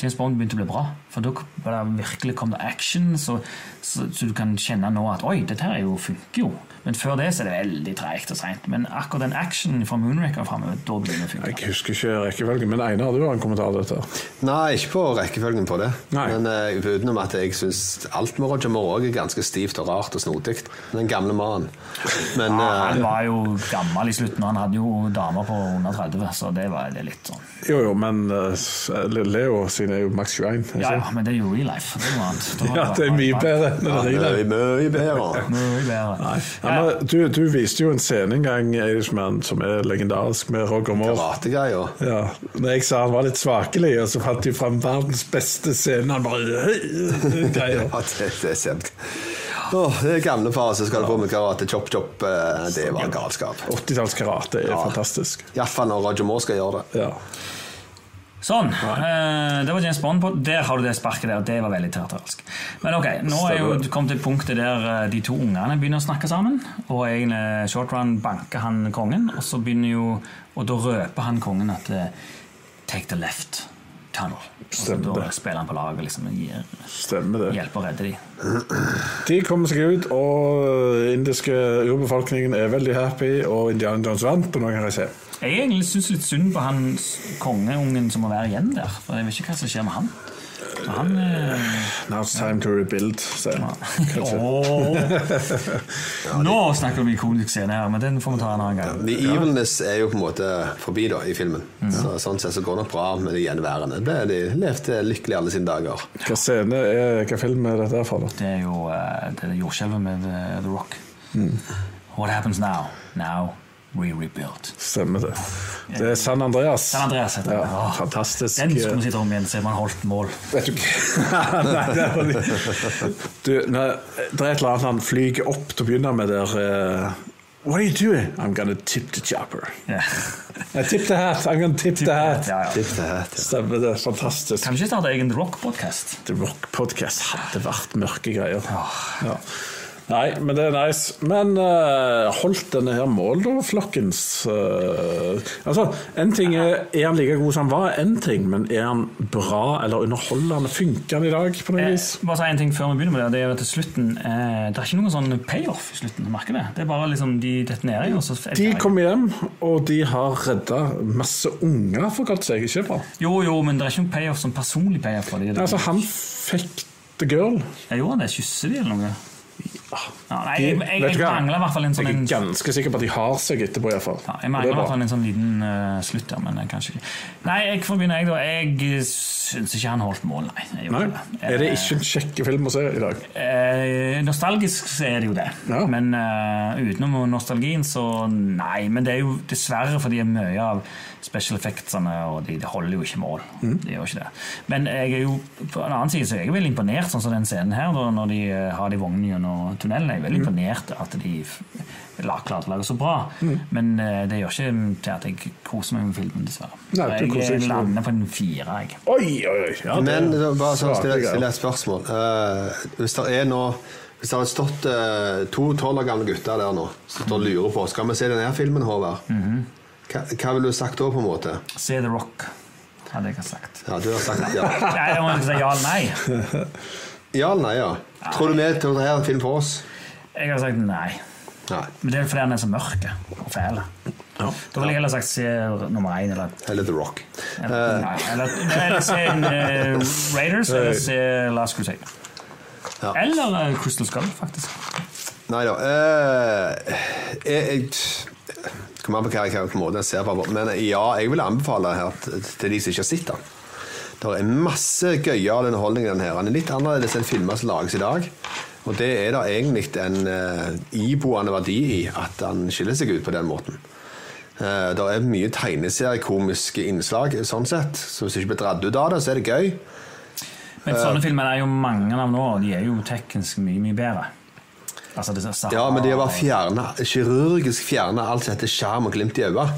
Speaker 8: James Bond begynte å bli bra. For da kom- var det virkelig kom det action, så, så, så du kan kjenne nå at oi, dette her er jo, funker jo. Men før det så er det veldig treigt og seint. Men akkurat den actionen fra Moonraker framover, da begynner det å funke.
Speaker 6: Jeg husker ikke rekkefølgen, men Einar, du har en kommentar til dette.
Speaker 7: Nei, ikke på rekkefølgen på det.
Speaker 6: Nei.
Speaker 7: Men eh, utenom at jeg syns alt med Roger Moore også er ganske stivt og rart og snodig. Den gamle mannen. Men
Speaker 8: Ja,
Speaker 7: eh,
Speaker 8: han var jo gammel i slutten, og han hadde jo damer på under 30, så det var det er litt sånn
Speaker 6: Jo, jo, men eh, s- Leo sin er jo maks 21. ikke
Speaker 8: Ja, ja,
Speaker 6: sant?
Speaker 8: men det er jo real life. Det er noe annet. Da var
Speaker 6: ja, det er mye bedre enn det
Speaker 7: eh, han
Speaker 6: reale.
Speaker 7: er mye bedre.
Speaker 8: Mye bedre.
Speaker 6: Ja, men du, du viste jo en scene en gang Irishman, som er legendarisk, med Roger Moore.
Speaker 7: Karategreier.
Speaker 6: Ja, når jeg sa han var litt svakelig, og så fant de fram verdens beste scene. Han bare «Høy!»
Speaker 7: Ja,
Speaker 6: greier.
Speaker 7: det, det er kjent. Åh, det er gamle far som skal på med karate. Chop, chop. eh, Det var galskap.
Speaker 6: 80-tallskarate er
Speaker 7: Ja.
Speaker 6: fantastisk.
Speaker 7: Iallfall når Roger Moore skal gjøre det.
Speaker 6: Ja.
Speaker 8: Sånn. eh, det var James Bond. På. Der har du det sparket der. Det var veldig teatralsk. Men ok, nå er jo
Speaker 6: Stemmer.
Speaker 8: kommet til punktet der eh, de to ungene begynner å snakke sammen. Og egentlig shortrun banker han kongen, og så begynner jo Og da røper han kongen at eh, Take the left tunnel. Og så
Speaker 6: Stemmer
Speaker 8: da
Speaker 6: det.
Speaker 8: spiller han på laget liksom, og gir-
Speaker 6: Stemmer det.
Speaker 8: hjelper å redde de.
Speaker 6: De kommer seg ut, og indiske urbefolkningen er veldig happy, og Indiana Jones vant på noen reise.
Speaker 8: Jeg egentlig syns litt synd på han s- kongeungen som må være igjen der. For jeg vet ikke hva som skjer med han. Men han eh,
Speaker 6: Now it's time to rebuild, sier han. Kanskje.
Speaker 8: Åh. Nå snakker vi om ikonisk scene her, men den får vi ta en annen gang.
Speaker 7: The evilness er jo på en måte forbi da i filmen.
Speaker 6: Mm.
Speaker 7: Så, sånn sett så går det nok bra med de gjenværende. Det, de levde lykkelig alle sine dager.
Speaker 6: Hva scene er, hva film er dette her fra, da?
Speaker 8: Det er jo eh, det er jordskjelvet med eh, The Rock.
Speaker 6: Mm.
Speaker 8: What happens now? Now we rebuild.
Speaker 6: Stemmer det. Det er San Andreas.
Speaker 8: San Andreas heter den.
Speaker 6: ja,
Speaker 8: Åh,
Speaker 6: Fantastisk. eh,
Speaker 8: Den skulle vi sitte om igjen, så man holdt mål.
Speaker 6: Vet du hva Nei, det var litt Du, nei, det er et eller annet han flyger opp til å begynne med der eh, What are you doing? I'm gonna tip the chopper.
Speaker 8: Ja.
Speaker 6: Nei, tip the hat. I'm gonna tip, the hat.
Speaker 8: Ja, ja.
Speaker 7: Tipp det het, ja.
Speaker 6: Stemmer det. Fantastisk.
Speaker 8: Kan vi ikke starte egen The Rock-podkast?
Speaker 6: The Rock Podcast hadde vært mørke greier. Ja. Nei, men det er nice. Men eh, holdt denne her mål, da, flokkens? Eh, altså, en ting er Er han like god som han var? En ting, men er han bra eller underholdende? Funker han i dag på noe
Speaker 8: Eh,
Speaker 6: vis?
Speaker 8: bare si en ting før vi begynner med det. Det er jo at til slutten eh, Det er ikke noen sånn payoff i slutten. Merker det. Det er bare liksom de detonerer, og så er vi
Speaker 6: De
Speaker 8: ferdig.
Speaker 6: kommer hjem, og de har redda masse unger, for godt seg. Ikke bra.
Speaker 8: Jo, jo, men det er ikke noen payoff som personlig payoff for dem.
Speaker 6: Altså, han fikk the girl.
Speaker 8: Jeg gjorde det. Kysser de, eller noe? Ja, nei,
Speaker 6: Ah, De-
Speaker 8: jeg, jeg,
Speaker 6: vet
Speaker 8: jeg
Speaker 6: du hva?
Speaker 8: mangler i hvert fall en sånn
Speaker 6: Jeg
Speaker 8: en,
Speaker 6: er ganske sikker på at de har seg etterpå, iallfall.
Speaker 8: ja, jeg mangler i hvert fall en sånn liten eh, slutt der, men eh, kanskje ikke. Nei, jeg får begynne, jeg, da. Jeg eh, syns ikke han holdt mål, nei. Jeg
Speaker 6: Nei,
Speaker 8: gjorde
Speaker 6: er det ikke en kjekk film å se i dag?
Speaker 8: Eh, nostalgisk så er det jo det.
Speaker 6: Ja.
Speaker 8: Men eh, utenom nostalgien, så nei. Men det er jo dessverre fordi mye av special effectsene og de, de holder jo ikke mål.
Speaker 6: Mm.
Speaker 8: De gjør ikke det. Men jeg er jo på en annen side så er jeg veldig imponert, sånn som den scenen her, da, når de eh, har de vognene gjennom tunnelen. Jeg er
Speaker 6: Mm.
Speaker 8: veldig imponert at de f- la- klarte å lage så bra.
Speaker 6: Mm.
Speaker 8: Men eh, det gjør ikke til at jeg koser meg med filmen, dessverre.
Speaker 6: Nei, du
Speaker 8: så
Speaker 6: koser deg
Speaker 8: jeg
Speaker 6: ikke.
Speaker 8: lander på en fire, jeg.
Speaker 6: Oi, oi, oi. Ja, det
Speaker 7: Men
Speaker 6: er
Speaker 7: det var bare sånn
Speaker 6: svake
Speaker 7: stille,
Speaker 6: greier.
Speaker 7: stille et spørsmål. Eh, hvis det er nå hvis det hadde stått eh, to tolv år gamle gutter der nå som står og lurer på Skal vi se denne filmen, Håvard?
Speaker 6: Mhm.
Speaker 7: hva, hva ville du sagt da, på en måte?
Speaker 8: Se The Rock, hadde jeg sagt.
Speaker 7: Ja, du har sagt ja.
Speaker 8: Nei, jeg må ikke si ja eller nei.
Speaker 7: Ja eller nei, ja? Tror du vi tok dette her en film for oss?
Speaker 8: Jeg har sagt nei.
Speaker 7: Nei.
Speaker 8: Men det er fordi han er så mørk og fæl. Da ville jeg heller sagt se nummer én, eller,
Speaker 7: Eller The Rock. Eh.
Speaker 8: eller, nei, eller, eller se eh, Raiders, eller se Last Crusade.
Speaker 7: Ja.
Speaker 8: Eller eh, Crystal Skull, faktisk.
Speaker 7: Nei da. Eh, jeg, jeg Kommer an på hva jeg hvilken måte jeg ser på. Men ja, jeg vil anbefale her t- til de som ikke har sett den. Det er masse gøyal underholdning i den her. Den er litt annerledes enn filmer som lages i dag. Og det er det egentlig en eh, iboende verdi i at den skiller seg ut på den måten. Eh, Det er mye tegneseriekomiske innslag, sånn sett. så hvis du ikke blir dratt ut av det, så er det gøy.
Speaker 8: Men
Speaker 7: Eh.
Speaker 8: sånne filmer er jo mange av nå, og de er jo teknisk mye, mye bedre. Altså, det er
Speaker 7: Ja, men de har bare fjernet, kirurgisk fjerna alt som heter skjerm og glimt i øyet.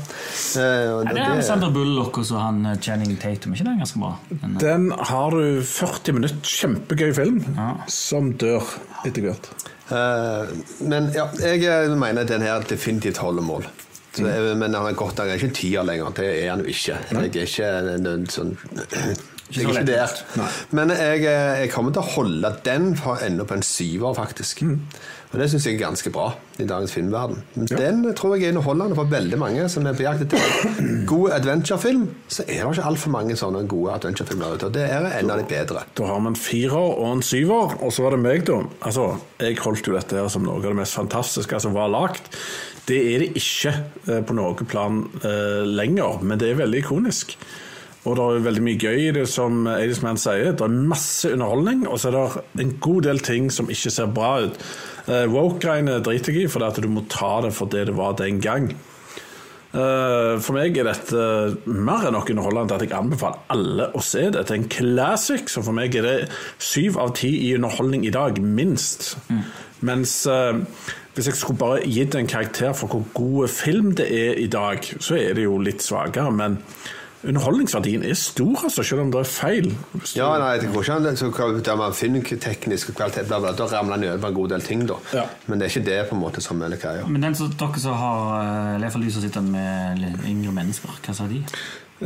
Speaker 7: Eh, og det-
Speaker 8: Ja, det er
Speaker 7: det-
Speaker 8: Alexander Bullock og så han eh, Channing Tatum. Er ikke det ganske bra?
Speaker 7: Mm.
Speaker 8: Den, eh,
Speaker 6: Den har du 40 minutter kjempegøy film som dør etter hvert.
Speaker 7: Eh, Men ja, jeg eh, mener den her definitivt holder mål. Så,
Speaker 8: Mm.
Speaker 7: eh, jeg- Men han er godt, han er ikke en tier lenger. Det er han jo ikke. Jeg er ikke en, en, en sånn Jeg er
Speaker 8: så
Speaker 7: ikke
Speaker 8: lett.
Speaker 7: der. Men jeg, eh, jeg kommer til å holde den for enda på en syver, faktisk.
Speaker 8: Mm.
Speaker 7: Og det syns jeg er ganske bra i dagens filmverden. Men Den tror jeg er underholdende for veldig mange som er på jakt etter god adventurefilm. Så er det ikke altfor mange sånne gode adventurefilmer der ute. og Det er en av de bedre.
Speaker 6: Da har vi en firer og en syver, og så var det meg, da. Altså, jeg holdt jo dette her som noe av det mest fantastiske som var lagt. Det er det ikke eh, på noe plan eh, lenger, men det er veldig ikonisk. Og det er veldig mye gøy i det, som Eidesman sier. Det er masse underholdning, og så er det en god del ting som ikke ser bra ut. Eh, Woke-greiene driter jeg i, for det at du må ta det for det det var den gang. Eh, For meg er dette eh, mer enn nok underholdende til at jeg anbefaler alle å se det. Det er en classic, så for meg er det syv av ti i underholdning i dag, minst. Mens eh, hvis jeg skulle bare gitt en karakter for hvor god film det er i dag, så er det jo litt svakere, men underholdningsverdien er stor, altså, selv om det er feil. Hvis du-
Speaker 7: Ja, nei, jeg tror ikke han så kan- der man finner teknisk kvalitet, bla, bla, da ramler han over en god del ting, da.
Speaker 6: Ja. Mm.
Speaker 7: Men det er ikke det på en måte som er greia.
Speaker 8: Men den som, dere som har eh, Eller iallfall de som sitter med li- yngre mennesker, hva sa de?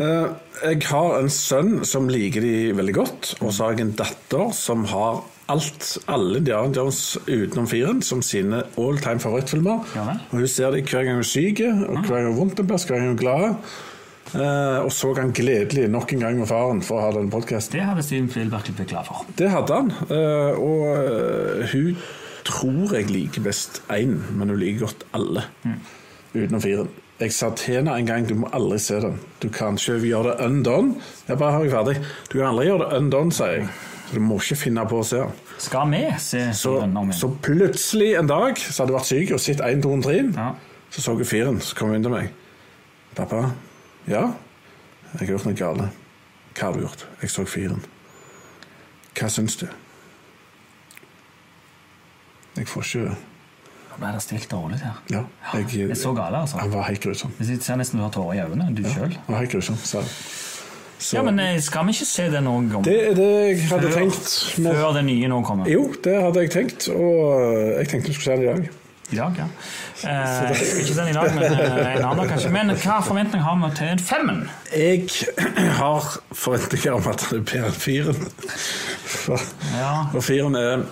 Speaker 6: Eh, jeg har en sønn som liker de veldig godt, og så har jeg en datter som har alt, alle Diana Jones utenom firen som sine all time favorittfilmer.
Speaker 8: Ja vel.
Speaker 6: og hun ser dem hver gang hun er syk, og hver gang hun har vondt en plass, hver gang hun er glad. Eh, og så han gledelig nok en gang med faren for å ha den podkasten.
Speaker 8: Det hadde Steven Spielberg blitt glad for.
Speaker 6: Det hadde han, eh, og eh, hun tror jeg liker best én, men hun liker godt alle utenom firen. Jeg sa til henne en gang du må aldri se den. Du kan ikke gjøre det undone. Jeg bare har jeg ferdig. Du kan aldri gjøre det undone, sier jeg. Så du må ikke finne på å se den.
Speaker 8: Skal vi se
Speaker 6: Så,
Speaker 8: Steven om
Speaker 6: så
Speaker 8: igjen?
Speaker 6: plutselig en dag så hadde jeg vært syk og sett 1, 2, 3.
Speaker 8: Ja.
Speaker 6: Så så jeg fyren, så kom hun inn til meg. 'Pappa, ja? Jeg har gjort noe gale. Hva har du gjort?' 'Jeg så fyren.' 'Hva syns du?' Jeg får ikke
Speaker 8: Da ble det stilt og rolig her.
Speaker 6: Ja. Jeg,
Speaker 8: Det er så gale, altså.
Speaker 6: Han var helt grusom.
Speaker 8: Hvis jeg ser nesten du har tårer i øynene, du selv
Speaker 6: Han var helt grusom, sa jeg. Så-
Speaker 8: Ja, men eh, skal vi ikke se det noen gang?
Speaker 6: Det er det jeg hadde
Speaker 8: Før-
Speaker 6: tenkt. Men,
Speaker 8: Før det nye nå kommer?
Speaker 6: jo, det hadde jeg tenkt, og eh, jeg tenkte vi skulle se den i dag.
Speaker 8: I dag, ja. Eh, ikke den i dag, men eh, en annen kanskje. Men hva forventning har vi til en femmen?
Speaker 6: Jeg har forventninger om at han er bedre enn fyren. For,
Speaker 8: Ja.
Speaker 6: Og fyren er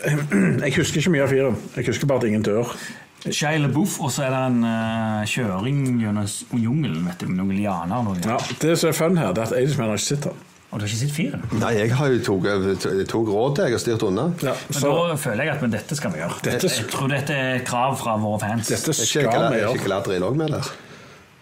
Speaker 6: Jeg husker ikke mye av fyren. Jeg husker bare at ingen dør.
Speaker 8: Shia LaBeouf, og så er det en eh, kjøring gjennom s- jungelen, vet du, med noen lianer og noe.
Speaker 6: Ja, det som er fun her, det er at Aidsman har ikke sett han.
Speaker 8: Og du har ikke sett firen?
Speaker 7: Nei, jeg har jo tok, tok råd til jeg har styrt unna.
Speaker 6: Ja,
Speaker 8: Men
Speaker 6: så
Speaker 8: da føler jeg at men dette skal vi gjøre.
Speaker 6: Dette
Speaker 8: jeg, jeg
Speaker 6: sk-
Speaker 8: tror dette er et krav fra våre fans.
Speaker 6: dette
Speaker 7: Er
Speaker 6: skal
Speaker 7: ikke Glad-
Speaker 6: vi
Speaker 7: er
Speaker 6: gjøre.
Speaker 7: ikke Gladri i lag med der?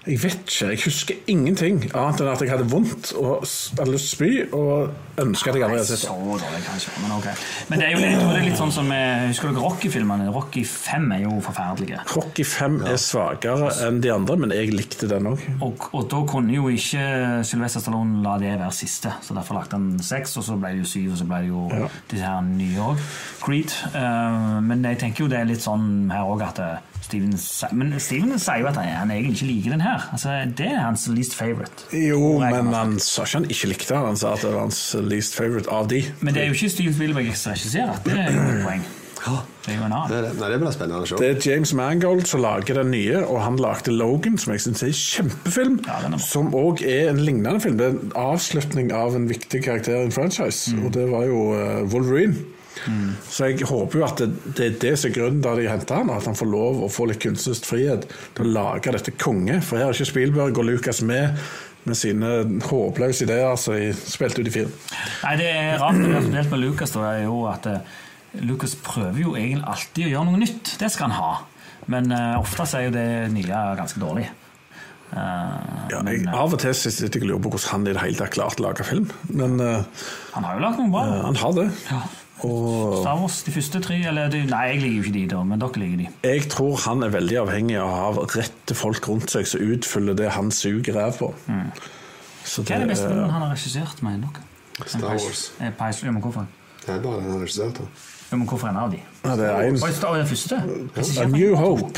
Speaker 6: Jeg vet ikke. Jeg husker ingenting annet enn at jeg hadde vondt og s- hadde lyst til å spy og ønska at jeg aldri
Speaker 8: Nei,
Speaker 6: hadde sett
Speaker 8: så
Speaker 6: han.
Speaker 8: dårlig kanskje, men ok. Men det er jo litt, jeg tror det er litt sånn som eh, Husker dere Rocky-filmene? Rocky 5 er jo forferdelige.
Speaker 6: Rocky 5 er svakere enn de andre, men jeg likte den òg.
Speaker 8: Og, og da kunne jo ikke Sylvester Stallone la det være siste, så derfor lagde han seks, og så ble det jo syv, og så ble det jo disse her nye òg. Creed. Eh, men jeg tenker jo det er litt sånn her òg at eh, Steven sier- Men Steven sier jo at han, han egentlig ikke liker den her. Altså, det er hans least favorite.
Speaker 6: Jo, men han sa ikke han ikke likte han. Han sa at det var hans least favorite av de.
Speaker 8: Men det er jo ikke Steven Spielberg som regisserer. Det er jo et poeng. Det er jo en
Speaker 7: Nei,
Speaker 8: annen.
Speaker 7: det- Nei, det blir spennende show.
Speaker 6: Det er James Mangold som lager den nye, og han lagde Logan, som jeg syns er en kjempefilm.
Speaker 8: Ja, den er bra.
Speaker 6: som òg er en lignende film. Det er en avslutning av en viktig karakter i en franchise,
Speaker 8: Mm.
Speaker 6: og det var jo eh, Wolverine. Så jeg håper jo at det, det er det som er grunnen til at de henter han, at han får lov å få litt kunstnerisk frihet til å lage dette konge. For her er ikke Spielberg og Lucas med med sine håpløse ideer som de spilte ut i film.
Speaker 8: Nei, det er rart det er spesielt med Lucas, da, er jo at eh, Lucas prøver jo egentlig alltid å gjøre noe nytt. Det skal han ha. Men eh, ofte så er jo det nye ganske dårlig. Eh,
Speaker 6: Ja,
Speaker 8: men
Speaker 6: jeg,
Speaker 8: eh,
Speaker 6: av og til så sitter jeg og lurer på hvordan han i det hele tatt klarte å lage film, men eh,
Speaker 8: han har jo lagd noen bra.
Speaker 6: eh, han har det.
Speaker 8: Ja.
Speaker 6: Og
Speaker 8: Star Wars, de første tre eller de, Nei, jeg liker jo ikke de, da, men dere liker de.
Speaker 6: Jeg tror han er veldig avhengig av å ha rette folk rundt seg som utfyller det han suger ræv på. Så
Speaker 8: Mm. Hva er det beste
Speaker 6: er-
Speaker 8: filmen han har regissert, mener dere?
Speaker 7: Star Wars.
Speaker 8: Eh, Pais- ja, men hvorfor?
Speaker 7: Det er bare den han regisserte.
Speaker 8: Ja, men hvorfor en av de?
Speaker 6: Ja, det er en-
Speaker 8: Oi, Star Wars er den første?
Speaker 6: A New Hope.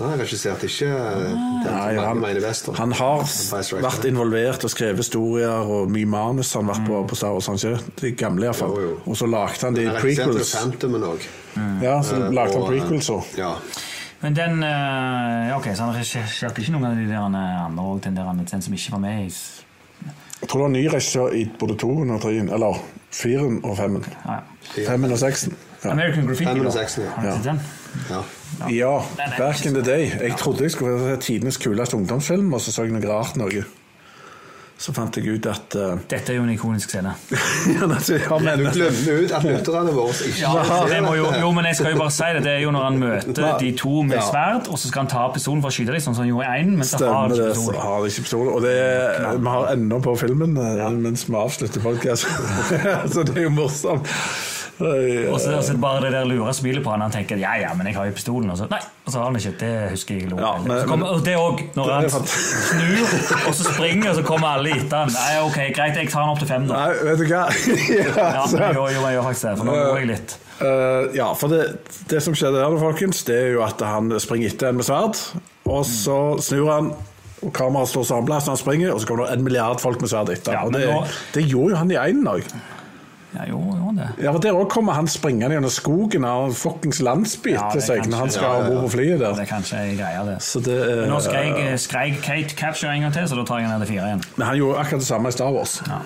Speaker 7: Nei, han regisserte ikke eh, den
Speaker 6: Ah. Nei,
Speaker 7: som han mener best. da.
Speaker 6: han, han har
Speaker 7: Vice Rector.
Speaker 6: vært involvert og skrevet historier og mye manus han har vært
Speaker 8: Mm.
Speaker 6: på på Star Wars. Han ikke? De gamle, iallfall.
Speaker 7: Jo, jo.
Speaker 6: Og så lagde han de
Speaker 7: Han regisserte jo
Speaker 6: prequels.
Speaker 7: Phantomen òg.
Speaker 6: Ja, så
Speaker 7: Eh,
Speaker 6: lagde han prequels òg.
Speaker 7: Ja.
Speaker 8: Men den eh, ja, Ok, så han regisserte ikke noen av de der andre òg, den der med den som ikke var med i s-
Speaker 6: Jeg tror det var ny regissør i både toen og treen. Eller firen og femmen.
Speaker 8: Ja.
Speaker 6: Femmen og seksen. Ja.
Speaker 8: American Graffiti.
Speaker 7: Fem
Speaker 8: da.
Speaker 7: og seks, ja.
Speaker 8: Har du sett den?
Speaker 7: Ja.
Speaker 6: ja,
Speaker 8: Nei, nei,
Speaker 6: back in the day. Jeg trodde jeg skulle se tidenes kuleste ungdomsfilm, og så så jeg noe rart noe. Så fant jeg ut at eh,
Speaker 8: Dette er jo en ikonisk scene.
Speaker 6: ja, altså, ja, men,
Speaker 7: Du glemmer ut at lytterne våre ikke
Speaker 8: Det må jo, jo, men jeg skal jo bare si det. Det er jo når han møter de to med
Speaker 6: Ja.
Speaker 8: sverd, og så skal han ta pistolen for å skyte dem, sånn som han gjorde i én, men så har
Speaker 6: Stemmer
Speaker 8: han ikke
Speaker 6: det. så
Speaker 8: pistolen.
Speaker 6: Har de ikke pistol. Og det, vi har ennå på filmen eh, mens vi avslutter podkasten. så det er jo morsomt.
Speaker 8: Og så og så bare det der lure smilet på han, han tenker ja, ja, men jeg har jo pistolen. Og så nei, og så har han ikke. Det husker jeg. lo.
Speaker 6: Ja, men-
Speaker 8: Så kommer- og det òg, når
Speaker 6: Det er
Speaker 8: han
Speaker 6: fant-
Speaker 8: snur, og så springer, og så kommer alle etter han. Nei, ok, greit, jeg tar han opp til fem, da.
Speaker 6: Nei, vet du hva? ja,
Speaker 8: Ja,
Speaker 6: så-
Speaker 8: men jo, jo, jeg gjør faktisk det, for nå går jeg litt.
Speaker 6: Eh, ja, for det, det som skjedde der, da, folkens, det er jo at han springer etter en med sverd, og så snur han, og kameraet står samla, så han springer, og så kommer det en milliard folk med sverd etter.
Speaker 8: Ja,
Speaker 6: og
Speaker 8: men
Speaker 6: det,
Speaker 8: nå-
Speaker 6: det gjorde jo han i einen òg.
Speaker 8: Ja, jo, jo, det.
Speaker 6: Ja, for der òg kommer han springende gjennom skogen av en fuckings landsby
Speaker 8: Ja,
Speaker 6: til
Speaker 8: det
Speaker 6: seg
Speaker 8: kan
Speaker 6: når han
Speaker 8: skje.
Speaker 6: skal om bord på flyet
Speaker 8: Det
Speaker 6: der.
Speaker 8: er kanskje jeg greier det.
Speaker 6: Så det eh, er-
Speaker 8: Men nå skreik, skreik Kate Capture en gang til, så da tar jeg ned til fire igjen.
Speaker 6: Men han gjorde akkurat det samme i Star Wars.
Speaker 8: Ja.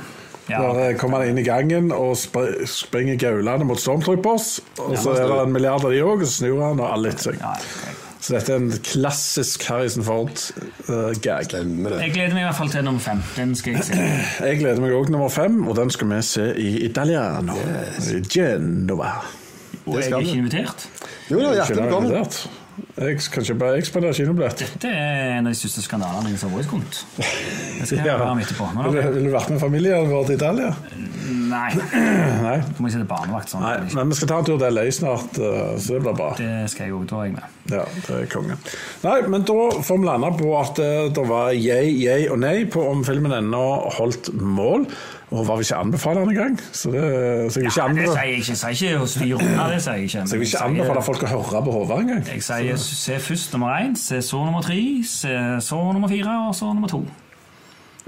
Speaker 8: Ja.
Speaker 6: Der eh, kommer han inn i gangen og spr springer gaulende mot Stormtroopers. Og så er det en milliard av de òg, og så snur han og alle etter seg.
Speaker 8: Ja, jeg-
Speaker 6: Så dette er en klassisk Harrison eh, Ford-gag.
Speaker 7: glemmer det.
Speaker 8: jeg gleder meg i hvert fall til nummer fem. Den skal jeg se.
Speaker 6: jeg gleder meg òg nummer fem, og den skal vi se i Italiano. I Genova.
Speaker 8: Og jeg er
Speaker 7: skal
Speaker 8: ikke
Speaker 7: vi.
Speaker 8: invitert.
Speaker 7: Jo da, hjertelig
Speaker 6: Ikke
Speaker 7: velkommen.
Speaker 6: invitert. Jeg kan ikke bare ekspandere kinobillett.
Speaker 8: Dette er en av de største skandalene jeg har vært kommet. Det skal jeg
Speaker 6: Ja.
Speaker 8: være med etterpå. Men
Speaker 6: Vil
Speaker 8: da,
Speaker 6: du- vil du vært med familien vår til Italia?
Speaker 8: nei,
Speaker 6: Nei.
Speaker 8: da må jeg sitte barnevakt sånn.
Speaker 6: Nei, men vi skal ta en tur til LA snart, eh, så det blir bra.
Speaker 8: Det skal jeg jo, da er jeg med.
Speaker 6: Ja, det er konge. Nei, men da får vi lande på at eh, det var yay, yay og nei på om filmen ennå holdt mål. Og var vi ikke anbefale den engang? Så, det- så jeg vil ikke
Speaker 8: Ja, det sier
Speaker 6: anbefale,
Speaker 8: jeg ikke. Jeg sier ikke å styre unna, det sier jeg ikke. Men
Speaker 6: så jeg vil ikke
Speaker 8: jeg sier-
Speaker 6: anbefale folk å høre på hodet engang.
Speaker 8: Jeg sier se først nummer én, se så nummer tre, se så nummer fire, og så nummer to.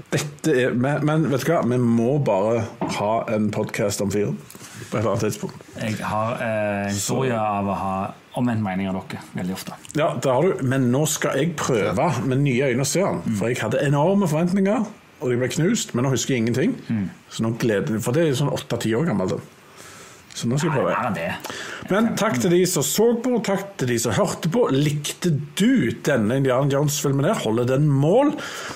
Speaker 6: Dette er, men, men vet du hva, vi må bare ha en podkast om fyren på et eller annet tidspunkt.
Speaker 8: Jeg har eh, en historie av å ha omvendt mening av dere veldig ofte.
Speaker 6: Ja, det har du. Men nå skal jeg prøve med nye øyne å se han. For jeg hadde enorme forventninger, og de ble knust. Men nå husker jeg ingenting. Så nå gleder jeg For det er jo sånn åtte-ti år gammelt. det. Så nå skal jeg
Speaker 8: Nei,
Speaker 6: prøve.
Speaker 8: mer enn det.
Speaker 6: Men takk til de som så på, takk til de som hørte på. Likte du denne Indian Jones-filmen her? Holder den mål?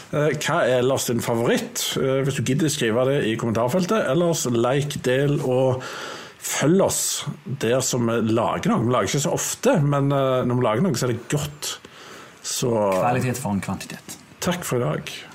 Speaker 6: Eh, Hva er ellers din favoritt? Eh, Hvis du gidder skrive det i kommentarfeltet. Ellers like, del og følg oss der som vi lager noe. Vi lager ikke så ofte, men eh, når vi lager noe, så er det godt. Så
Speaker 8: Kvalitet foran kvantitet.
Speaker 6: takk for i dag.